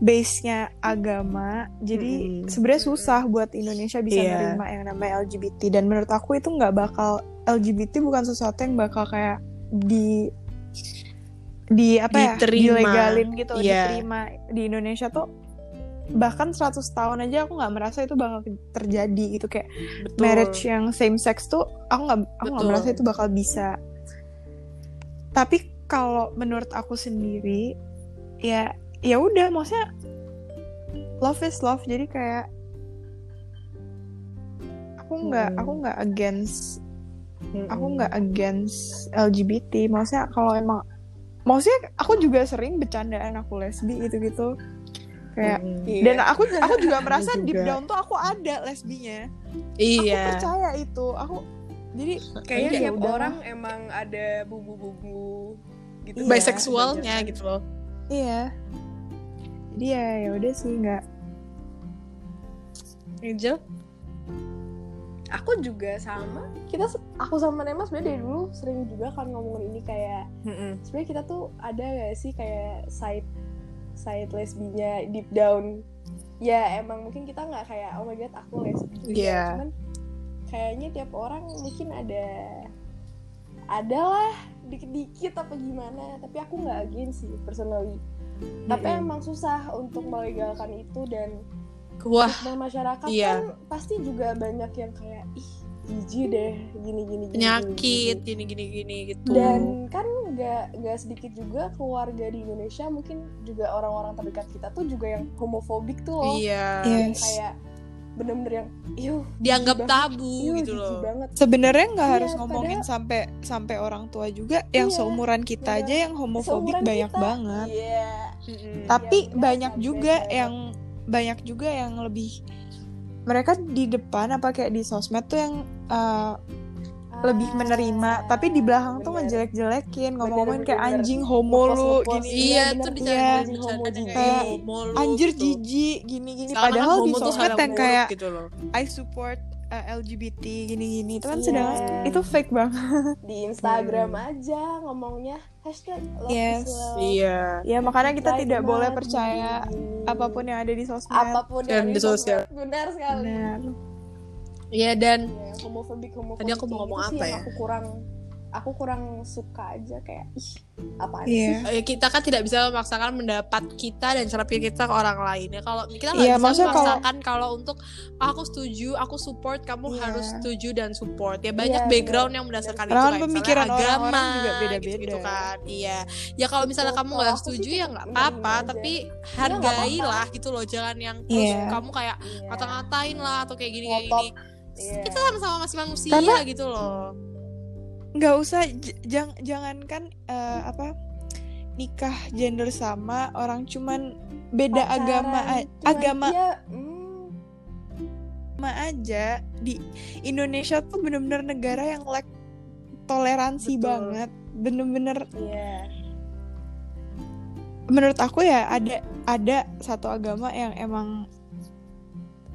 B: base-nya agama jadi
C: Mm-mm.
B: sebenarnya susah buat Indonesia bisa
C: Iya.
B: nerima yang namanya LGBT dan menurut aku itu nggak bakal LGBT bukan sesuatu yang bakal kayak di di apa ya
C: Diterima.
B: dilegalin gitu
C: Iya.
B: diterima di Indonesia tuh bahkan 100 tahun aja aku nggak merasa itu bakal terjadi gitu kayak
C: betul
B: marriage yang same sex tuh aku nggak aku nggak
C: Betul.
B: merasa itu bakal bisa tapi kalau menurut aku sendiri ya ya udah maksudnya love is love jadi kayak aku nggak
C: Hmm.
B: aku nggak against aku nggak against LGBT maksudnya kalau emang maksudnya aku juga sering bercandaan aku lesbi gitu gitu kayak
C: Hmm.
D: Iya.
B: dan aku aku juga merasa
C: Aku
B: deep
C: juga.
B: down tuh aku ada lesbinya aku
C: iya
B: percaya itu aku jadi
D: kayaknya
B: Iya,
D: tiap
B: udah.
D: orang emang ada bumbu-bumbu gitu.
B: Iya.
C: biseksualnya gitu loh
B: iya jadi ya ya udah sih nggak
C: Angel
D: Aku juga sama. Kita se- aku sama Nema sebenarnya dari dulu sering juga kan ngomongin ini kayak sebenarnya kita tuh ada gak sih kayak side side lesbinya deep down ya emang mungkin kita nggak kayak oh my god aku lesbi gitu ya.
C: Iya.
D: cuman kayaknya tiap orang mungkin ada adalah dikit-dikit apa gimana tapi aku nggak against sih personally tapi
C: Mm-mm.
D: emang susah untuk melegalkan itu dan
C: wah
D: stigma masyarakat
C: iya.
D: kan pasti juga banyak yang kayak ih jijik deh gini gini gini, gini, gini."
C: penyakit gini gini gini gitu
B: Hmm.
D: dan kan nggak nggak sedikit juga keluarga di Indonesia mungkin juga orang-orang terdekat kita tuh juga yang homofobik tuh loh
C: iya
B: Iya.
D: yang kayak bener-bener yang iuh
C: dianggap
D: Jijik
C: tabu
B: Iya,
D: iuh
C: gitu
D: jijik
C: loh
D: banget
B: sebenarnya nggak
D: Iya,
B: harus ngomongin sampai sampai orang tua juga yang
D: Iya,
B: seumuran kita
D: iya.
B: aja yang homofobik
D: Seumuran
B: banyak
D: kita,
B: banget
D: iya
C: Mm-mm.
B: tapi
D: benar,
B: banyak
D: kan,
B: juga
D: banyak.
B: yang banyak juga yang lebih mereka di depan apa kayak di sosmed tuh yang uh, lebih
D: Ah,
B: menerima tapi di belakang tuh
D: bener.
B: ngejelek-jelekin ngomong-ngomongin kayak
D: bener.
B: anjing homo
D: Ngepost,
B: lu
D: ngepost.
B: gini
C: iya
D: Iya,
C: tuh
D: bener.
C: dicari
B: Iya.
C: dicari
D: Homo
C: kayak
B: juga.
C: homo lu
B: anjir
C: gitu.
B: jijik gini-gini
D: kan
C: Sedangkan
B: padahal di
C: homo tuh
B: sosmed
C: hal
B: yang
C: buruk
B: kayak
C: gitu loh
B: I support uh, LGBT gini-gini itu kan
D: Iya.
B: sedangkan itu fake banget
D: di Instagram aja ngomongnya hashtag
B: Hmm.
D: love
B: Yes.
D: is love,
C: iya
B: ya makanya kita
D: Pride
B: tidak boleh
D: Month,
B: percaya
D: gini-gini.
B: apapun yang ada di sosmed
D: apapun
C: Dan di sosial.
D: benar sekali
B: Benar.
C: iya dan
D: ya, homofobik homofobik
C: Tadi aku mau ngomong
D: gitu sih
C: apa
D: yang
C: ya?
D: aku kurang aku kurang suka aja kayak ih apa
B: Iya.
D: sih
C: Eh, kita kan tidak bisa memaksakan pendapat kita dan cara pikir kita ke orang lain ya kalau kita nggak
B: Iya,
C: bisa
B: maksudnya kalau-
C: memaksakan kalau... untuk aku setuju aku support kamu
B: Iya.
C: harus setuju dan support ya banyak
D: Iya,
C: background yang mendasarkan itu
B: Karena kan
C: kayak
B: pemikiran
C: misalnya
B: orang-orang
C: agama
B: juga beda-beda.
C: gitu kan iya ya kalau misalnya
D: Betul.
C: kamu nggak
D: Kalau aku sih
C: setuju ya
D: tetap
C: nggak
D: menerima
C: apa-apa
D: aja.
C: tapi
D: nggak apa-apa.
C: hargailah gitu loh jangan yang terus
B: Iya.
C: kamu kayak
D: Iya.
C: kata-ngatain lah atau kayak gini kayak
D: Ngotot.
C: gini
D: Iya.
C: kita sama-sama masih manusia
B: Karena-
C: gitu loh
B: nggak usah j- jang- jangankan eh, apa nikah gender sama orang cuman beda
D: Pacaran,
B: agama a-
D: cuman
B: agama
D: dia, mm,
B: agama aja di Indonesia tuh bener-bener negara yang like toleransi
C: Betul.
B: banget bener-bener
D: iya
B: menurut aku ya ada ada satu agama yang emang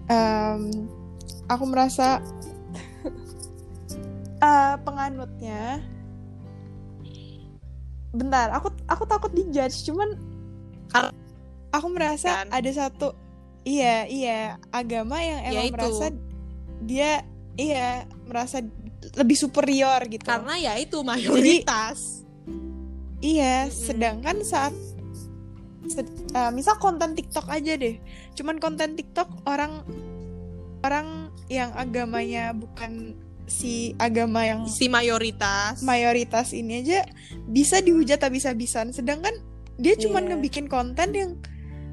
B: em, aku merasa eh, penganutnya bentar aku aku takut dijudge cuman
C: Kar-
B: aku merasa
C: Kan?
B: ada satu iya iya agama yang
C: Ya
B: emang
C: itu.
B: merasa dia iya merasa lebih superior gitu
C: karena ya itu mayoritas
B: Iya,
C: Mm-mm.
B: sedangkan saat se- eh, misal konten TikTok aja deh cuman konten TikTok orang orang yang agamanya bukan si agama yang
C: si mayoritas
B: mayoritas ini aja bisa dihujat habis-habisan sedangkan dia cuman
D: Iya.
B: ngebikin konten yang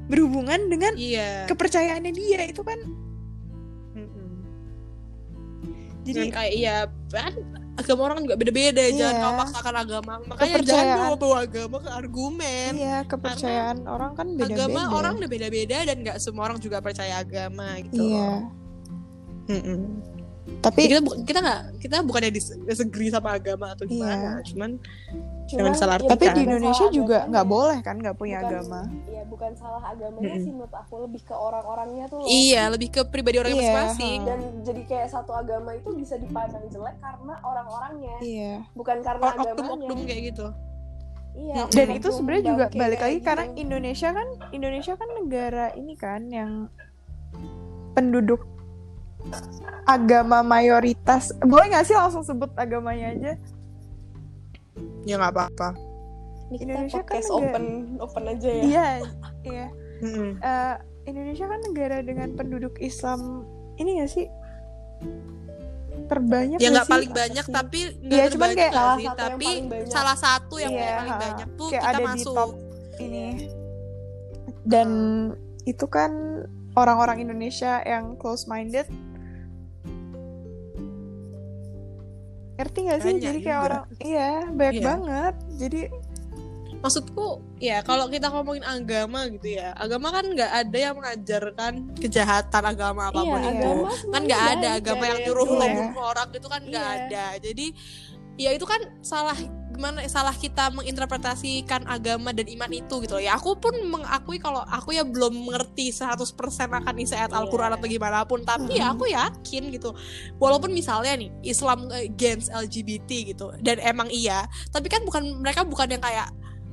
B: berhubungan dengan
C: iya
B: kepercayaannya dia itu kan
C: Mm-mm. jadi
B: jadi
C: kayak iya kan agama orang juga beda-beda jangan
B: Iya.
C: kau paksakan agama makanya jangan
B: Kepercayaan.
C: bawa bawa agama ke argumen
B: iya kepercayaan orang kan beda-beda
C: agama orang udah beda-beda dan nggak semua orang juga percaya agama gitu
B: iya
C: loh. Mm-mm.
B: tapi
C: Jadi kita bu- kita nggak kita bukannya dis- disagree sama agama
B: Iya.
C: atau gimana cuman jangan salah
B: tapi
D: ya,
C: bukan
B: di
D: salah
B: Indonesia juga
D: agamanya.
B: nggak boleh kan nggak punya
D: Bukan.
B: agama
D: ya bukan salah agamanya
C: Mm-mm.
D: sih menurut aku lebih ke orang-orangnya tuh loh
C: iya lebih ke pribadi orangnya
B: Iya,
C: masing-masing
D: dan jadi kayak satu agama itu bisa dipandang jelek karena orang-orangnya
B: iya
D: bukan karena
C: Or-
D: agamanya
C: oknum-oknum kayak gitu
D: iya
B: dan
D: oknum
B: itu sebenarnya juga
D: bangke
B: balik lagi
D: kayak
B: karena
D: gitu.
B: Indonesia kan Indonesia kan negara ini kan yang penduduk agama mayoritas boleh nggak sih langsung sebut agamanya aja
C: ya nggak apa-apa
D: Ini kita
B: Indonesia kan
D: podcast
B: negara-
D: open open aja ya
B: iya iya
C: Mm-mm.
B: Eh, Indonesia kan negara dengan penduduk Islam ini nggak sih terbanyak
C: ya
B: nggak
C: nggak
B: Iya sih?
C: paling banyak tapi nggak
B: Iya,
C: terbanyak
B: cuman kayak
C: nggak
D: salah
C: sih
D: satu yang
C: tapi
D: paling banyak.
C: salah satu yang
B: Iya,
C: paling
B: ha.
C: banyak tuh
B: Kayak
C: kita
B: ada di
C: masuk
B: top
C: Iya.
B: ini dan itu kan orang-orang Indonesia yang close minded ngerti nggak sih
C: Banyak
B: jadi kayak
C: juga.
B: orang iya banyak
C: Iya.
B: banget jadi
C: maksudku ya kalau kita ngomongin agama gitu ya agama kan nggak ada yang mengajarkan kejahatan agama apapun
B: Iya,
C: itu
B: agama
C: kan nggak ada agama
D: ya.
C: yang nyuruh lo
B: Iya.
C: bunuh orang itu kan nggak
D: Iya.
C: ada jadi ya itu kan salah gimana ya, salah kita menginterpretasikan agama dan iman itu gitu loh ya aku pun mengakui kalau aku ya belum mengerti 100% akan isi ayat
D: Iya.
C: Al-Quran atau gimana pun tapi ya aku yakin gitu walaupun misalnya nih Islam eh, against LGBT gitu dan emang iya tapi kan bukan mereka bukan yang kayak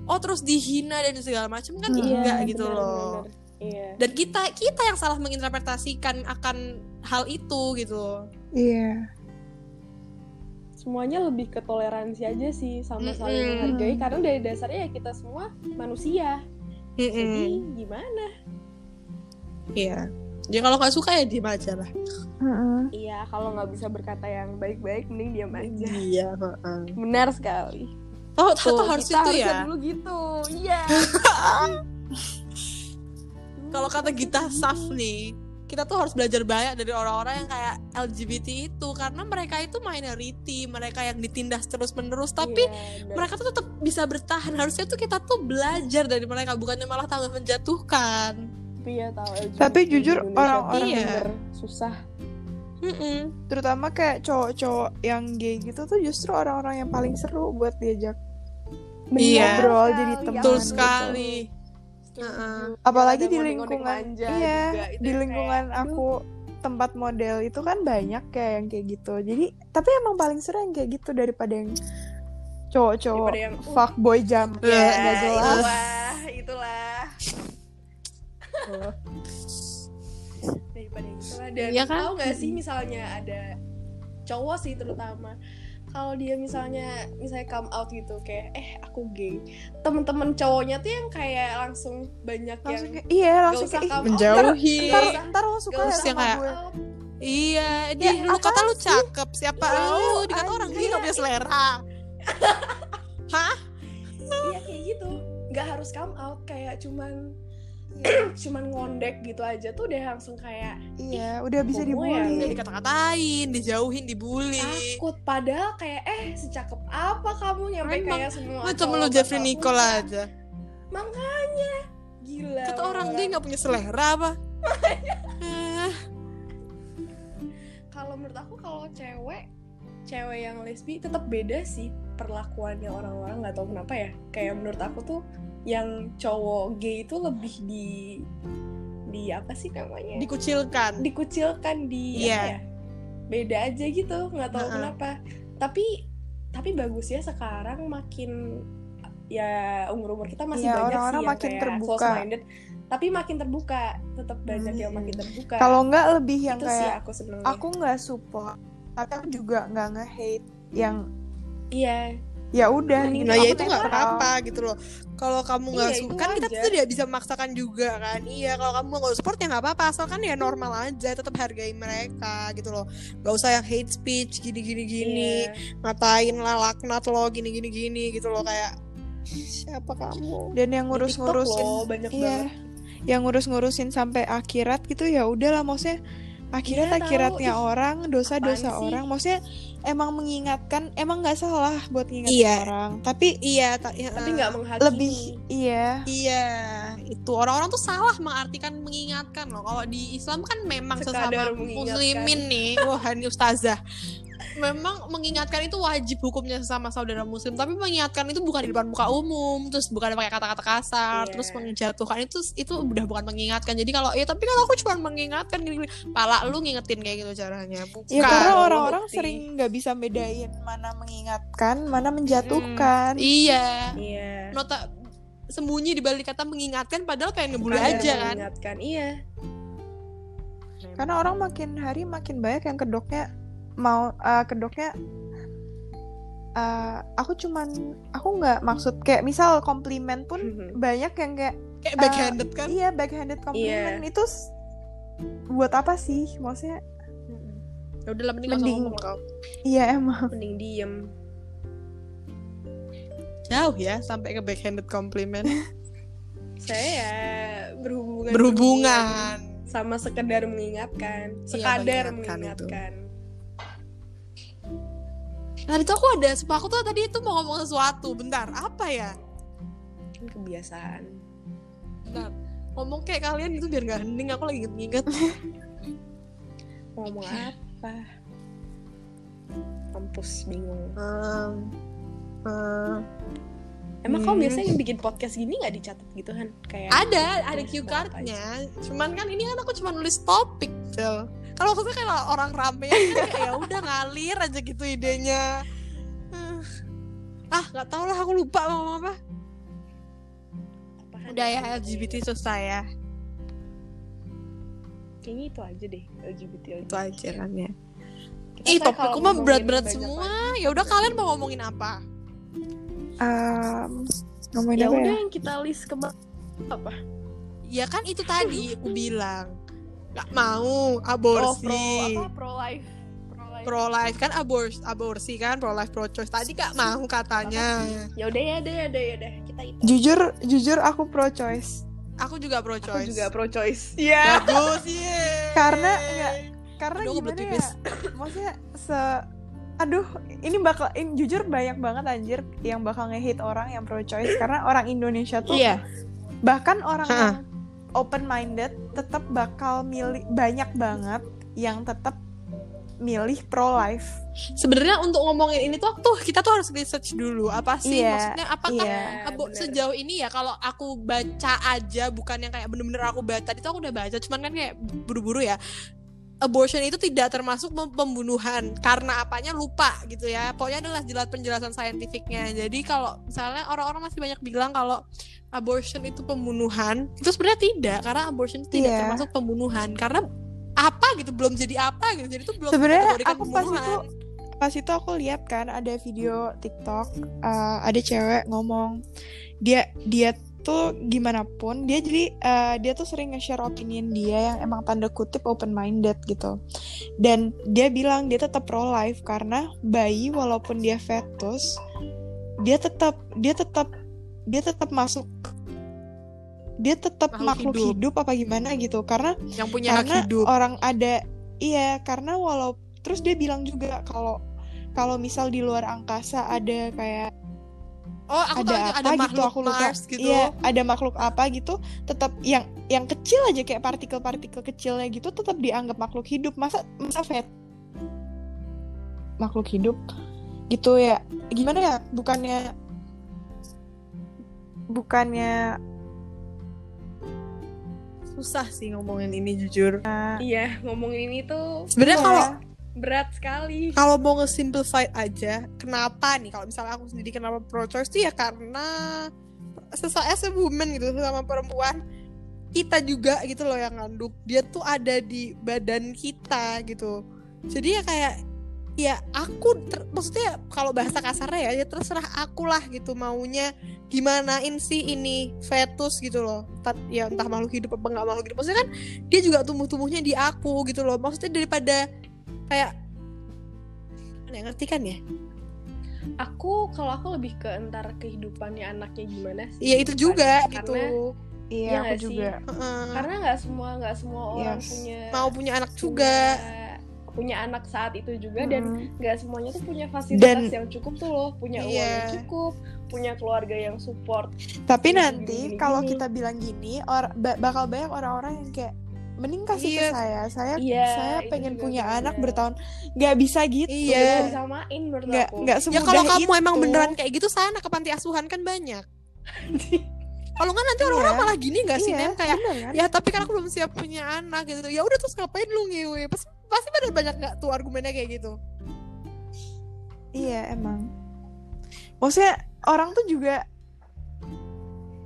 C: oh terus dihina dan segala macam kan enggak gitu loh
D: iya
C: dan kita kita yang salah menginterpretasikan akan hal itu gitu loh.
B: iya
D: semuanya lebih ke toleransi aja sih sama saling
C: Mm-mm.
D: menghargai karena dari dasarnya ya kita semua manusia jadi
C: Mm.
D: gimana
C: Iya. Jadi kalau nggak suka ya diem aja lah.
B: Mm-mm.
D: iya kalau nggak bisa berkata yang baik-baik mending diam aja
C: Iya.
D: benar sekali
C: Oh, tuh, harus
D: kita
C: itu
D: harusnya
C: ya.
D: dulu gitu iya
C: Kalau kata Gita Saf nih, kita tuh harus belajar banyak dari orang-orang yang kayak LGBT itu karena mereka itu minority, mereka yang ditindas terus-menerus tapi
D: Iya, benar.
C: mereka tuh tetap bisa bertahan. Harusnya tuh kita tuh belajar dari mereka bukannya malah tambah menjatuhkan.
D: tapi ya tahu LGBT
B: Tapi
D: di
B: jujur
D: Indonesia
B: orang-orang-
D: tuh
C: Iya.
D: bener susah
C: Mm-mm.
B: terutama kayak cowok-cowok yang gay gitu tuh justru orang-orang yang paling seru buat diajak
C: Iya.
B: ngobrol jadi
D: sekali,
B: teman
C: Betul
B: gitu.
C: sekali. Heeh.
B: apalagi
D: Yang ada
B: di
D: ngoding-ngoding
B: lingkungan
D: manja
B: iya
D: juga, itu
B: di
D: yang
B: lingkungan
D: kayak,
B: aku tempat model itu kan banyak kayak yang kayak gitu jadi tapi emang paling seru yang kayak gitu daripada yang cowok-cowok
D: Daripada yang, uh,
B: fuckboy jam
G: Iya,
B: ya
C: ya,
B: nggak
D: "Aduh,
B: jelas
D: itulah itulah daripada itulah dan
C: Iya kan?
D: tahu nggak sih misalnya ada cowok sih terutama kalau dia misalnya misalnya come out gitu kayak eh aku gay temen-temen cowoknya tuh yang kayak langsung banyak
B: langsung
D: yang
B: kayak- iya langsung
D: usah
B: kayak "Ih,
D: kamu-
C: Menjauhi.
B: ntar, ntar, ntar lo suka
D: Gak
B: ya
C: usah
B: sama
C: kayak-
B: gue
D: out.
C: Iya,
B: Ya,
C: dia dulu kata lu cakep. Siapa
B: Iya,
C: lu? Dikata orang
B: anjir.
C: dia gak punya selera. Hah?
D: iya kayak gitu nggak harus come out kayak cuman cuman ngondek gitu aja tuh udah langsung kayak
B: iya udah bisa
D: Homo ya,
C: Dia
B: dibully
C: dikata-katain, dijauhin, dibully.
D: takut padahal kayak eh secakep apa kamu nyampe
C: Emang,
D: kayak semua
C: Lu cuma
D: cowok
C: lu Jeffrey
D: bakal
C: Nicole
D: suka.
C: aja.
D: makanya gila
C: Kata orang
D: beneran.
C: dia gak punya selera apa?
B: Iya.
C: Eh,
D: kalau menurut aku kalau cewek cewek yang lesbi tetap beda sih perlakuannya orang-orang nggak tahu kenapa ya kayak menurut aku tuh yang cowok gay itu lebih di di apa sih namanya
C: Dikucilkan.
D: dikucilkan di apa
C: Iya.
D: ya? beda aja gitu nggak tahu
C: Heeh.
D: kenapa tapi tapi bagusnya sekarang makin ya umur umur kita masih
B: Iya,
D: banyak
B: orang-orang
D: sih yang
B: makin
D: kayak
B: terbuka.
D: minded tapi makin terbuka tetap banyak yang makin terbuka
B: kalau nggak lebih yang
D: itu sih
B: kayak
D: aku seneng
B: aku nggak support tapi aku juga nggak nge-hate yang
D: iya
B: ya udah gitu.
G: Nah, ya
B: Aku
G: itu nggak
B: netral.
G: apa-apa gitu loh. Kalau kamu nggak
D: Iya,
G: suka,
D: itu
G: kan kita
D: wajar.
G: tuh tidak bisa memaksakan juga kan. Iya, kalau kamu nggak support ya nggak apa-apa, asalkan ya normal aja, tetap hargai mereka gitu loh. Gak usah yang hate speech gini-gini
B: Iya.
G: gini,
D: iya.
G: ngatain lah laknat lo gini-gini gini gitu loh kayak siapa kamu?
B: dan yang
G: Di
B: ngurus-ngurusin
G: TikTok loh, banyak
B: iya
G: banget.
B: yang ngurus-ngurusin sampai akhirat gitu ya udahlah maksudnya akhirat akhiratnya orang dosa dosa
G: Iya, apaan sih?
B: orang maksudnya emang mengingatkan emang nggak salah buat ngingatin
G: Iya.
B: orang tapi
G: Iya, ta- iya,
D: tapi nggak menghakimi
B: lebih iya
G: Iya,
C: itu orang-orang tuh salah mengartikan mengingatkan loh kalau di Islam kan memang
D: Sekadar
C: sesama
D: mengingatkan.
C: muslimin nih wah ini ustazah memang mengingatkan itu wajib hukumnya sesama saudara muslim tapi mengingatkan itu bukan di depan muka umum terus bukan pakai kata-kata kasar
D: Iya.
C: terus menjatuhkan itu itu udah bukan mengingatkan jadi kalau ya tapi kan aku cuma mengingatkan gini, -gini. pala lu ngingetin kayak gitu caranya bukan
B: ya karena
D: Kalau
B: orang-orang
D: bukti.
B: sering nggak bisa bedain mana mengingatkan mana menjatuhkan
C: iya
D: iya
C: nota sembunyi di balik kata mengingatkan padahal pengen ngebully
D: Kadang
C: aja kan
D: mengingatkan iya
G: Hmm.
B: karena orang makin hari makin banyak yang kedoknya mau eh, kedoknya eh, aku cuman aku nggak maksud kayak misal komplimen pun
D: Mhm.
B: banyak yang kayak
C: kayak backhanded kan Iya.
B: Iya, backhanded compliment itu s- buat apa sih? Maksudnya
C: ya udah lah mending nggak usah
B: Mending.
C: ngomong kau
B: iya emang.
D: mending diem
C: jauh ya sampai ke backhanded compliment
D: saya ya berhubungan
C: Nah, berhubungan
D: sama sekedar mengingatkan sekadar
C: mengingatkan itu.
D: mengingatkan
C: tadi tuh Nah, aku ada sumpah aku tuh tadi itu mau ngomong sesuatu bentar apa ya
D: Ini kebiasaan
C: bentar ngomong kayak kalian itu biar nggak hening aku lagi inget-inget
D: ngomong
C: Iya.
D: apa kampus bingung
C: Em, em,
B: Hmm.
D: emang kamu biasanya yang bikin podcast gini nggak dicatat gitu kan kayak
C: ada ada cue cardnya cuman kan ini kan aku cuma nulis topik Cel. kalau aku tuh kayak orang rame kan kayak ya udah ngalir aja gitu idenya Eh, ah nggak tau lah aku lupa mau ngomong apa
D: apaan
C: udah ya
D: sih?
C: LGBT susah ya
D: kayaknya itu aja deh LGBT
C: itu aja kan ya
D: Kita
C: Ih,
D: ntar
C: topikku
D: kalau
C: mah
D: ngomongin
C: berat-berat
D: banyak
C: semua. Ya udah kalian mau ngomongin apa?
B: Um, ngomongin
D: ya
B: apa
D: udah
B: ya?
D: yang kita list ke Oh, apa
C: Ya kan itu tadi aku bilang. Gak mau
D: oh, pro
C: aborsi.
D: apa pro life pro life
C: pro life kan abors aborsi kan pro life pro choice. Tadi gak mau katanya.
D: ya udah ya deh ya deh ya deh kita itu
B: Jujur, jujur aku pro choice.
C: Aku juga pro
D: aku
C: choice.
D: juga pro choice
C: Iya.
D: ya
C: Bagus, iya. yeay.
B: Karena nggak- Karena
C: Aduh, aku
B: gimana
C: belut
B: ya? Maksudnya se Aduh, ini bakal ini jujur banyak banget anjir yang bakal ngehit orang yang pro choice karena orang Indonesia tuh bahkan orang
C: Iya. Ha-ha.
B: yang open minded tetap bakal milih banyak banget yang tetap milih pro life.
C: Sebenarnya untuk ngomongin ini tuh, tuh kita tuh harus research dulu apa sih
B: Iya,
C: maksudnya apakah
B: Iya.
C: Abo- sejauh ini ya kalau aku baca aja bukan yang kayak bener-bener aku baca tadi tuh aku udah baca cuman kan kayak buru-buru ya abortion itu tidak termasuk mem- pembunuhan karena apanya lupa gitu ya pokoknya adalah jelas penjelasan saintifiknya jadi kalau misalnya orang-orang masih banyak bilang kalau abortion itu pembunuhan itu sebenarnya tidak karena abortion itu tidak
B: Iya.
C: termasuk pembunuhan karena apa gitu belum jadi apa gitu jadi itu belum
B: Sebenarnya
C: dikategorikan
B: aku pas
C: pembunuhan.
B: itu- pas itu aku lihat kan ada video TikTok eh, ada cewek ngomong dia dia tuh gimana pun dia jadi eh, dia tuh sering nge-share opinion dia yang emang tanda kutip open minded gitu dan dia bilang dia tetap pro life karena bayi walaupun dia fetus dia tetap dia tetap dia tetap masuk dia tetap
C: Makhluk
B: makhluk, hidup. apa gimana gitu karena
C: yang punya hak
B: karena
C: hidup
B: orang ada iya karena walau terus dia bilang juga kalau kalau misal di luar angkasa ada kayak
C: oh aku
B: ada
C: tahu itu
B: apa
C: ada
B: gitu
C: makhluk
B: aku lupa
C: Mars gitu
B: iya ada makhluk apa gitu tetap yang yang kecil aja kayak partikel-partikel kecilnya gitu tetap dianggap makhluk hidup masa masa vet makhluk hidup gitu ya gimana ya bukannya bukannya
C: susah sih ngomongin ini jujur
D: iya ngomongin ini tuh
C: sebenarnya
B: Iya.
C: kalau
D: berat sekali
C: kalau mau nge-simplify aja kenapa nih kalau misalnya aku sendiri kenapa pro choice tuh ya karena sesa as a woman gitu sama perempuan kita juga gitu loh yang ngandung dia tuh ada di badan kita gitu jadi ya kayak ya aku ter- maksudnya kalau bahasa kasarnya ya ya terserah aku lah gitu maunya gimanain sih ini fetus gitu loh Tat- ya entah makhluk hidup apa enggak makhluk hidup maksudnya kan dia juga tumbuh-tumbuhnya di aku gitu loh maksudnya daripada kayak Mana ya, ngerti kan ya
D: aku kalau aku lebih ke entar kehidupannya anaknya gimana sih
C: Iya itu juga
D: kan, Karena-
C: gitu
B: Iya,
D: Iya
B: aku
D: nggak sih?
B: juga.
C: Heeh.
D: karena nggak semua nggak semua orang
B: Yes.
D: punya
C: mau punya anak juga Ya,
D: punya, punya anak saat itu juga dan
B: Mm.
C: Hmm.
D: nggak semuanya tuh punya fasilitas
B: Dan-
D: yang cukup tuh loh punya uang yang
C: Iya.
D: cukup punya keluarga yang support
B: Tapi
D: Gini,
B: nanti
C: iya,
D: gini, gini,
B: kalau
D: gini.
B: kita bilang gini, or- ba- bakal banyak orang-orang yang kayak mending kasih
C: Iya.
B: ke saya. Saya
D: Iya,
B: saya
D: itu
B: pengen
D: juga
B: punya
D: bener.
B: anak bertahun. Gak bisa gitu.
C: Iya.
D: Nggak disamain menurut
B: Gak
D: aku
B: nggak
C: ya
B: semudah
C: kalau kamu
B: itu.
C: emang beneran kayak gitu sana ke panti asuhan kan banyak kalau nggak nanti orang-orang
B: Iya.
C: malah gini nggak sih
B: Iya,
C: Nem? kayak
B: bener kan?
C: ya tapi kan aku belum siap punya anak gitu ya udah terus ngapain lu ngewe pasti pasti pada banyak nggak tuh argumennya kayak gitu
B: Iya emang. Maksudnya orang tuh juga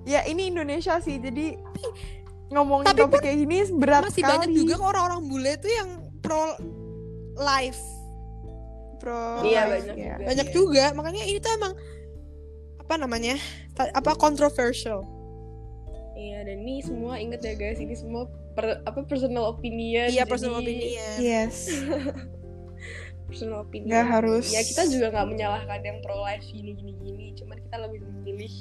B: ya ini Indonesia sih. Jadi ngomongin
C: Tapi
B: topik kayak gini berat
C: masih
B: sekali.
C: banyak juga kok orang-orang bule tuh yang pro life
B: Pro.
D: iya
B: life, ya.
D: banyak juga
C: banyak
D: iya.
C: juga makanya ini tuh emang apa namanya Ta- apa controversial
D: iya dan ini semua inget ya guys ini semua per- apa personal opinion
C: iya
D: jadi
C: personal opinion
B: Yes.
D: personal opinion
C: Iya.
B: Nggak harus.
D: ya kita juga nggak menyalahkan yang pro life gini gini gini cuman kita lebih memilih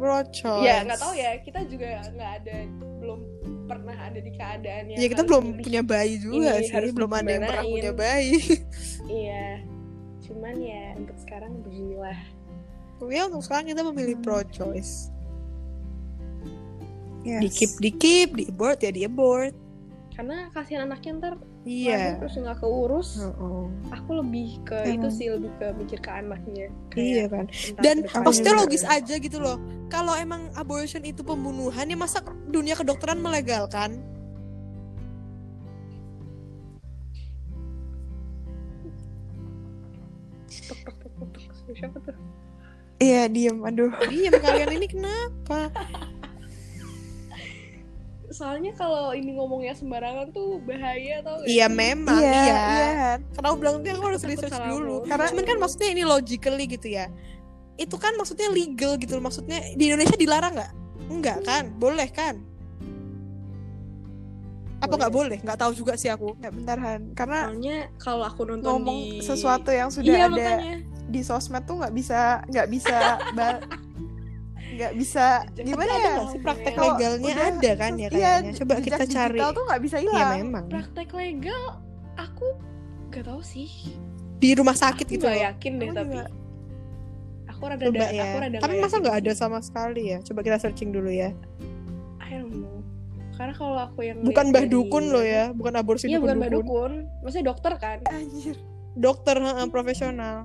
C: pro choice
D: ya nggak tahu ya kita juga nggak ada belum pernah ada di keadaan yang
C: Ya kita
D: harus
C: belum
D: milih.
C: punya bayi juga
D: Ini
C: sih,
D: harus
C: belum ada yang pernah
D: digimanain.
C: punya bayi.
D: iya cuman ya untuk sekarang beginilah
C: Ya untuk sekarang kita memilih
D: Hmm.
C: pro choice.
B: Yes.
C: Dikip dikip, di abort ya di abort.
D: karena kasihan anaknya ntar lahir
C: Iya. Hmm.
D: terus nggak keurus
B: Oh,
C: Heeh.
D: aku lebih ke itu sih lebih ke mikir ke anaknya
C: Iya kan. Dan maksudnya logis aja gitu loh. Kalau emang abortion itu pembunuhan ya masa dunia kedokteran melegalkan?
D: siapa tuh
B: Iya diem. Aduh.
C: Diam Iya, kalian ini kenapa?
D: soalnya kalau ini ngomongnya sembarangan tuh bahaya tau gak?
C: Iya memang
B: iya.
C: iya.
B: Iya. Han.
C: Karena aku bilang tuh aku harus
D: Takut
C: research
D: salah
C: dulu.
D: ngomong.
C: Karena cuman kan maksudnya ini logically gitu ya. Itu kan maksudnya legal gitu loh. Maksudnya di Indonesia dilarang nggak? Enggak kan? Boleh kan? Apa nggak boleh? Nggak tahu juga sih aku.
B: Nggak bentar Han. Karena
D: soalnya kalau aku nonton
B: ngomong
D: di...
B: sesuatu yang sudah
D: iya
B: ada
D: makanya
B: di sosmed tuh nggak bisa nggak bisa ba- nggak bisa
D: Jejak
B: gimana
D: ada
B: ya
D: nggak sih praktek
B: Kalau
C: legalnya
B: udah-
C: ada kan ya
B: iya,
C: kayaknya. Coba
B: jejak
C: kita cari.
B: digital tuh nggak bisa
C: Ya
B: hilang
C: memang.
D: praktek legal aku gak tahu sih
C: Di rumah sakit
D: aku
C: gitu
D: gak
C: loh.
D: yakin deh
B: Aku
D: tapi
B: juga.
D: ya. aku rada,
C: Coba
D: aku
C: ya.
D: rada
C: Tapi masa
D: yakin
C: nggak ada
D: sih. Iya,
C: sama sekali ya? Coba kita searching dulu ya.
D: I don't know karena kalau aku yang
C: Bukan
D: lihat
C: bah
D: dari-
C: dukun loh ya, bukan aborsi
D: iya
C: dukun.
D: bukan bah dukun maksudnya dokter kan
B: anjir
C: Dokter heeh, profesional.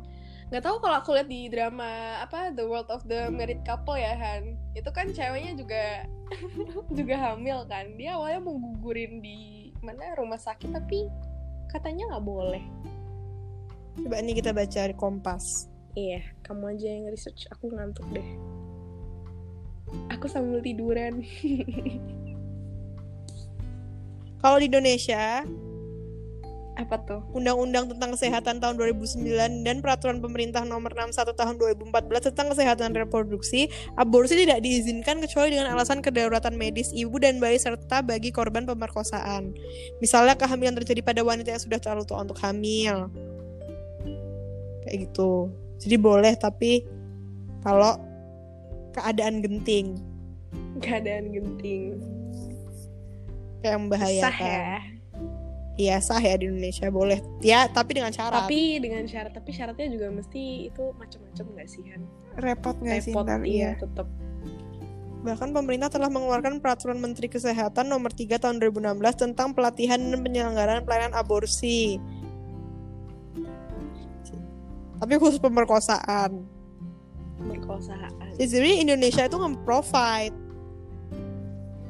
D: nggak tahu kalau aku lihat di drama apa The World of the Married Couple ya Han itu kan ceweknya juga juga hamil kan dia awalnya mau gugurin di mana rumah sakit tapi katanya nggak boleh
C: Coba ini kita baca di Kompas.
D: iya kamu aja yang research aku ngantuk deh aku sambil tiduran
C: Kalau di Indonesia,
D: apa tuh
C: Undang-Undang tentang Kesehatan tahun 2009 dan Peraturan Pemerintah nomor 61 tahun 2014 tentang kesehatan reproduksi, aborsi tidak diizinkan kecuali dengan alasan kedaruratan medis ibu dan bayi serta bagi korban pemerkosaan. Misalnya kehamilan terjadi pada wanita yang sudah terlalu tua untuk hamil. Kayak gitu. Jadi boleh tapi kalau keadaan genting
D: keadaan genting
C: kayak
D: sah
C: membahayakan.
D: ya
C: Iya, sah ya di Indonesia boleh. Ya, tapi dengan syarat.
D: tapi dengan syarat tapi syaratnya juga mesti itu macam-macam nggak sih Han
B: repot nggak sih
D: repot
B: ntar
D: iya
B: iya
D: tetap
C: Bahkan pemerintah telah mengeluarkan peraturan Menteri Kesehatan nomor 3 tahun 2016 tentang pelatihan dan penyelenggaraan pelayanan aborsi. Tapi khusus pemerkosaan.
D: berkosaan
C: Jadi Indonesia itu nge-provide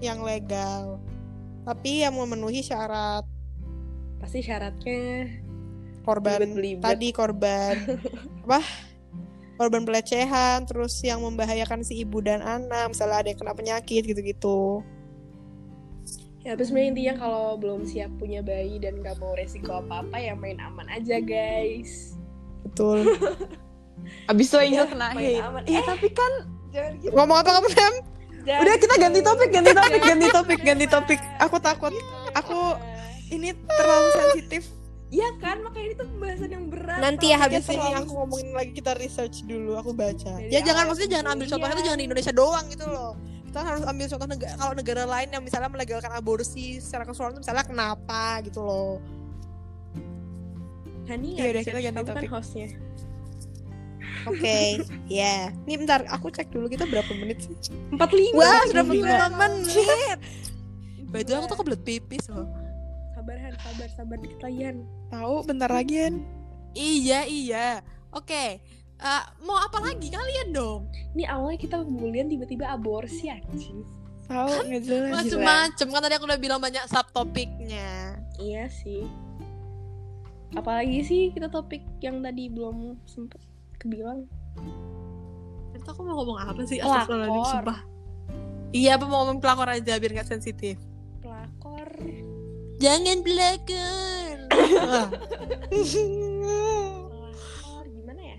C: yang legal. Tapi yang memenuhi syarat
D: pasti syaratnya
C: korban
D: Belibet-belibet.
C: tadi korban apa? Korban pelecehan, terus yang membahayakan si ibu dan anak, misalnya ada yang kena penyakit gitu-gitu.
D: ya terus sebenarnya intinya kalau belum siap punya bayi dan gak mau resiko apa apa ya main aman aja guys
B: Betul. Abis itu Angel kena
D: main
B: hate.
D: aman
B: Iya, tapi kan
D: jangan gitu
B: ngomong apa kamu Sam?
D: jangan
B: Udah kita ganti topik, ganti
D: Iya.
B: topik, ganti topik, ganti
D: Jangan.
B: topik. Aku takut. Aku ini terlalu sensitif.
D: Iya kan makanya itu pembahasan yang berat
H: Nanti
D: tau.
H: ya habis
B: Habis ini
H: ini.
B: aku ngomongin lagi kita research dulu, aku baca.
D: Dari
H: Ya jangan
D: awal
H: maksudnya jangan ambil
D: kuliah.
H: contohnya itu jangan di Indonesia doang gitu loh. Kita harus ambil contoh negara kalau negara lain yang misalnya melegalkan aborsi secara keseluruhan itu misalnya kenapa gitu loh.
D: Hani
B: Iya, udah, kita
D: research,
B: ganti
D: kamu kan
B: topik.
D: hostnya
H: Oke,
C: iya.
H: ya. Nih bentar, aku cek dulu kita berapa menit sih.
D: empat lima
H: Wah, sudah 45 menit. By the way, aku tuh kebelet pipis loh.
D: sabar Han sabar sabar dikit lagi Han
B: Tahu bentar lagi kan.
C: Iya, iya. Oke. Eh, mau apa lagi kalian dong?
D: ini awalnya kita bulian tiba-tiba aborsi anjing
B: Tahu nggak jelas.
C: Macem-macem kan tadi aku udah bilang banyak subtopiknya.
D: iya sih apalagi sih kita topik yang tadi belum sempet kebilang
C: Ternyata aku mau ngomong apa sih?
D: Pelakor.
C: Astagfirullahaladzim, sumpah. Iya, apa mau ngomong pelakor aja biar nggak sensitif.
D: pelakor
C: Jangan pelakor. Ah,
D: pelakor gimana ya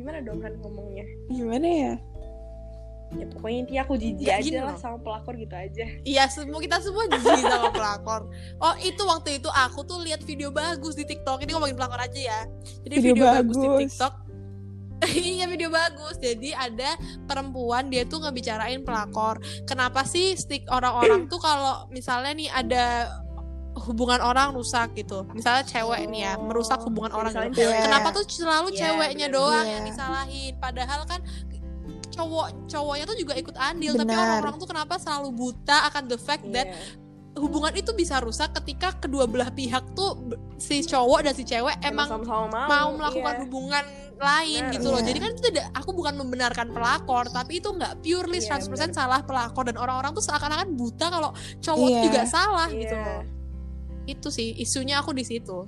D: gimana dong Han ngomongnya
B: Gimana ya?
D: ya pokoknya intinya aku jijik
C: Nggak Ya, gini
D: aja lah
C: loh.
D: sama pelakor gitu aja
C: Iya, semua kita semua jijik sama pelakor. Oh, itu waktu itu aku tuh lihat video bagus di TikTok. Ini ngomongin pelakor aja ya. Jadi video,
B: Video
C: bagus. di
B: bagus.
C: TikTok. iya video bagus. Jadi ada perempuan dia tuh ngebicarain pelakor. Kenapa sih stick orang-orang tuh kalau misalnya nih ada hubungan orang rusak gitu. Misalnya cewek nih ya merusak hubungan orang gitu.
D: Oh, Misalnya
B: gitu.
D: Iya, cewek.
C: Kenapa tuh selalu
D: Iya,
C: ceweknya
D: bener.
C: doang yang
B: Iya.
C: disalahin? Padahal kan cowok cowoknya tuh juga ikut andil, tapi
B: Benar.
C: orang-orang tuh kenapa selalu buta akan the fact that
D: Iya.
C: hubungan itu bisa rusak ketika kedua belah pihak tuh b- si cowok dan si cewek
D: Emang
C: emang
D: sama-sama mau,
C: mau melakukan
D: iya.
C: hubungan lain
D: Benar.
C: gitu loh.
B: Iya.
C: Jadi kan itu tidak aku bukan membenarkan pelakor, tapi itu nggak purely
D: Iya,
C: 100% salah pelakor dan orang-orang tuh seakan-akan buta kalau cowok
B: Iya.
C: juga salah
D: Iya.
C: gitu loh. Itu sih isunya aku di situ.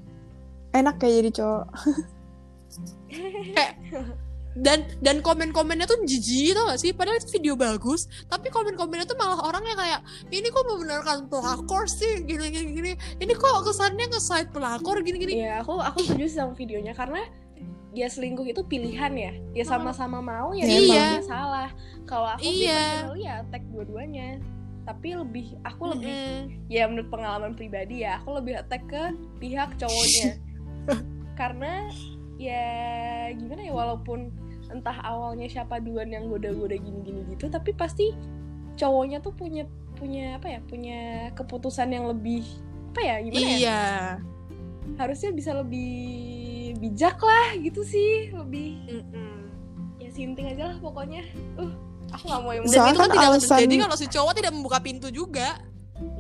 B: Enak kayak jadi cowok.
C: dan dan komen-komennya tuh jijik tau gak sih padahal itu video bagus tapi komen-komennya tuh malah orang yang kayak ini kok membenarkan pelakor sih gini gini gini ini kok kesannya nge side pelakor gini gini
D: Iya, aku aku setuju sih sama videonya karena dia selingkuh itu pilihan ya. Dia sama-sama mau ya dia
B: Iya.
D: maunya salah. Kalau aku sih
C: Iya.
D: personally ya tag dua-duanya. Tapi lebih aku lebih
C: Mm-mm.
D: ya menurut pengalaman pribadi ya aku lebih attack ke pihak cowoknya. karena ya gimana ya walaupun entah awalnya siapa duluan yang goda-goda gini-gini gitu tapi pasti cowoknya tuh punya punya apa ya punya keputusan yang lebih apa ya gimana ya
C: iya
D: harusnya bisa lebih bijak lah gitu sih lebih
C: Mm-mm.
D: ya sinting aja lah pokoknya uh aku nggak mau yang
C: dan
B: Soalnya
C: itu kan
B: kan
C: tidak
B: alasan-
C: terjadi kalau si cowok tidak membuka pintu juga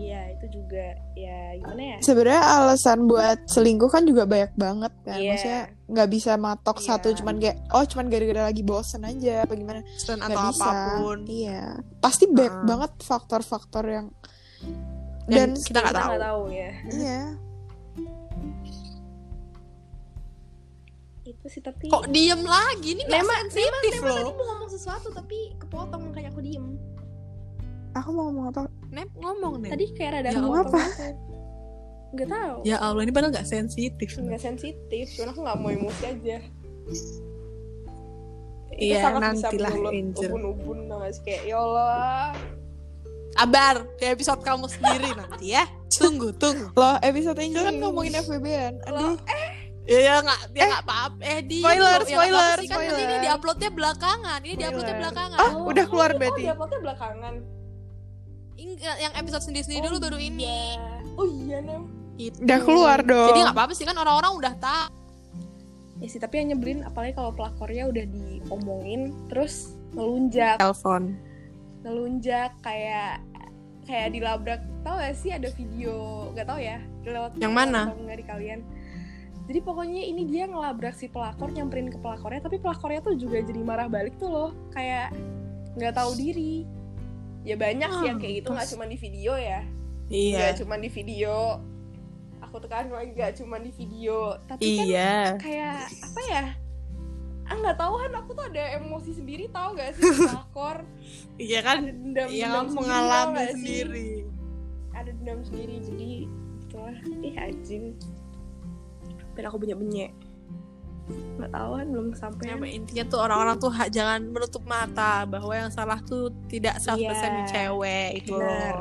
D: iya itu juga ya gimana ya
B: Sebenarnya alasan buat selingkuh kan juga banyak banget kan.
D: Iya.
B: Maksudnya nggak bisa matok
D: Iya.
B: satu cuman kayak oh cuman gara-gara lagi bosen aja apa gimana
C: dan
B: nggak
C: atau
B: bisa.
C: apapun
B: Iya. Pasti banyak
C: Heeh.
B: banget faktor-faktor yang
C: dan,
B: dan
C: kita nggak
D: Kita
C: tahu
D: nggak tahu ya
B: iya.
D: itu sih tapi
C: kok diem lagi ini nggak sensitif
D: Tema tadi
C: loh
D: mau ngomong sesuatu tapi kepotong makanya aku diem
B: Aku mau ngomong apa?
C: Nem ngomong nih
D: tadi kayak rada
C: Ya,
D: kepotong
B: apa?
D: gitu. nggak tahu
C: ya Allah ini padahal nggak sensitif
D: nggak sensitif cuman aku nggak mau emosi aja Itu
C: Iya,
D: sangat bisa
C: nantilah,
D: menyulut
C: Angel.
D: ubun-ubun tau nggak sih? kayak ya Allah
C: Abar di episode kamu sendiri nanti ya tunggu tunggu
B: Loh, episode Angel kan ngomongin FBB-an. Aduh,
C: Ya ya nggak ya nggak apa-apa. Eh di
B: Spoiler,
C: ya, nggak apa-apa
B: spoiler,
C: sih, kan nanti ini
B: spoiler.
C: diuploadnya belakangan. Ini diuploadnya
D: Spoiler.
C: belakangan.
B: Ah, udah keluar
D: oh,
B: berarti.
D: oh, diuploadnya belakangan
C: Enggak, yang episode sendiri-sendiri dulu baru ini.
D: oh iya nem
C: Gitu.
B: udah keluar dong.
C: Jadi nggak apa-apa sih kan orang-orang udah tahu.
D: ya sih tapi yang nyebelin apalagi kalau pelakornya udah diomongin terus ngelunjak
C: Telepon.
D: ngelunjak kayak kayak dilabrak tau gak sih ada video nggak tau ya lewat
C: Yang mana?
D: atau nggak di kalian jadi pokoknya ini dia ngelabrak si pelakor nyamperin ke pelakornya tapi pelakornya tuh juga jadi marah balik tuh loh kayak nggak tahu diri ya banyak sih yang kayak gitu nggak cuma di video ya
C: Ah,
D: nggak
C: Iya.
D: cuma di video aku tekan lagi nggak cuma di video tapi kan
C: Iya.
D: kayak apa ya ah nggak tahu kan aku tuh ada emosi sendiri tau gak sih di pelakor
C: Iya kan
D: dendam
C: yang
D: sendiri, tau
C: mengalami
D: nggak sih?
C: sendiri.
D: ada dendam sendiri jadi itulah ih anjing biar aku banyak benyek nggak tahu kan belum sampai
C: Ya, intinya tuh orang-orang tuh ha- jangan menutup mata bahwa yang salah tuh tidak self
D: Iya.
C: percent cewek gitu. itu.
D: benar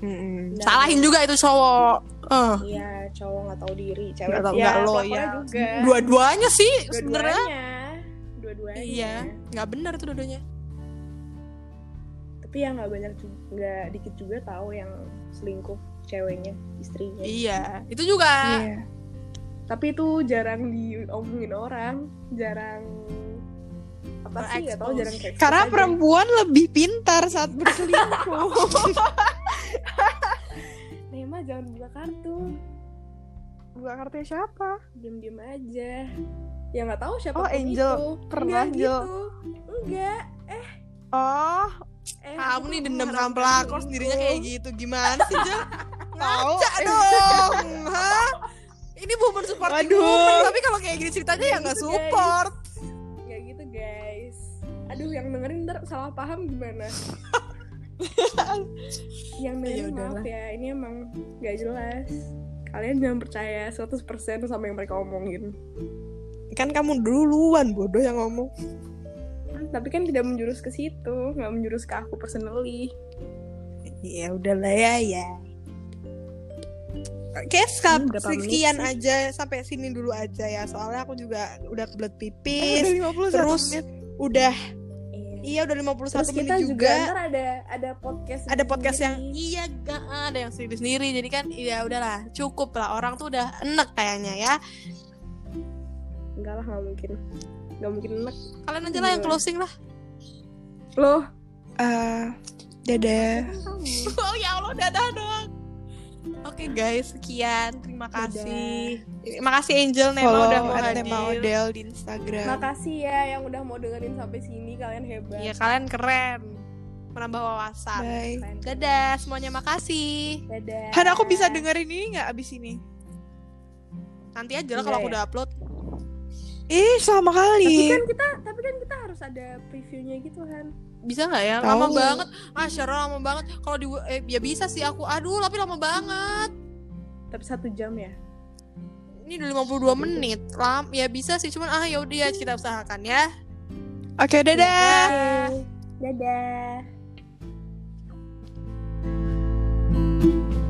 C: Mm-mm.
D: Benar.
C: Salahin juga itu cowok. Eh,
D: iya cowok nggak tahu diri cewek
C: Nggak tahu,
D: ya,
C: nggak lo,
D: pelakunya
C: ya.
D: juga
C: dua-duanya sih sebenarnya
D: dua-duanya dua-duanya
C: Iya. nggak benar tuh dua-duanya.
D: tapi yang nggak banyak ju- nggak dikit juga tahu yang selingkuh ceweknya istrinya
C: Iya, itu juga.
D: Iya. Tapi itu jarang diomongin orang, jarang apa sih nggak tahu
C: Terekspos.
D: jarang kayak gitu
B: Karena perempuan lebih pintar saat berselingkuh.
D: Nema jangan buka kartu,
B: Gua kartunya siapa?
D: diem diem aja. Ya nggak tahu siapa
B: Oh, Angel.
D: itu.
B: Pernah,
D: Enggak
B: Angel.
D: gitu. Enggak.
B: Oh,
D: Eh,
C: Kamu
D: aku
C: nih
D: tuh
C: dendam sama
D: mengharapkan
C: pelakor sendirinya kayak
D: selingkuh.
C: gitu. Gimana sih, Jel?
B: tahu.
C: dong. Hah? Ini bukan supporting
B: Waduh.
C: woman, tapi kalau kayak gini ceritanya ya nggak
I: Iya,
D: Gitu, guys.
C: support.
D: Nggak gitu guys. Aduh yang dengerin ntar salah paham gimana? yang dengerin maaf
C: udahlah.
D: ya ini emang nggak jelas. Kalian jangan percaya 100% sama yang mereka omongin.
I: Kan kamu duluan bodoh yang ngomong.
D: tapi kan tidak menjurus ke situ nggak menjurus ke aku personally
I: Ya udahlah ya ya. Oke, sekap-
D: Hmm, berapa menit
I: sekian aja sampai sini dulu aja ya. Soalnya aku juga udah kebelet pipis.
B: Udah 51
I: Terus
B: menit.
I: udah iya
D: iya.
I: udah 51
D: terus
I: menit
D: kita juga,
I: juga.
D: ntar ada ada podcast
I: Ada podcast yang
D: sendiri.
C: Iya, gak ada yang sendiri sendiri. Jadi kan ya udahlah, cukup lah. Orang tuh udah enek kayaknya ya.
D: enggak lah nggak mungkin nggak mungkin enak
C: Kalian aja lah yang
D: Iya.
C: closing lah.
D: loh
B: Eh, dadah.
C: Oh ya Allah, dadah doang. Oke guys, sekian. Terima kasih. Terima kasih Angel Nema
B: Follow
C: udah mau
B: at
C: hadir.
B: Tema Odel di Instagram.
D: makasih ya yang udah mau dengerin sampai sini kalian hebat
C: Iya, kalian keren. Menambah wawasan.
B: Bye.
D: Keren.
C: Dadah semuanya, makasih.
D: dadah
B: Han, aku bisa dengerin ini nggak abis ini?
C: Nanti aja lah
D: Iya,
C: kalau aku
D: ya.
C: udah upload.
B: Ih, sama
D: tapi
B: kali.
D: kan kita tapi kan kita harus ada previewnya gitu kan
C: Bisa nggak ya?
B: Tahu.
C: Lama banget. Masya Allah, lama banget. Kalau di eh, ya bisa sih aku. Aduh, tapi lama banget.
D: tapi satu jam ya
C: Ini udah 52 menit. Lam, ya bisa sih, cuman ah ya udah ya kita usahakan ya.
B: Oke, dadah.
D: dadah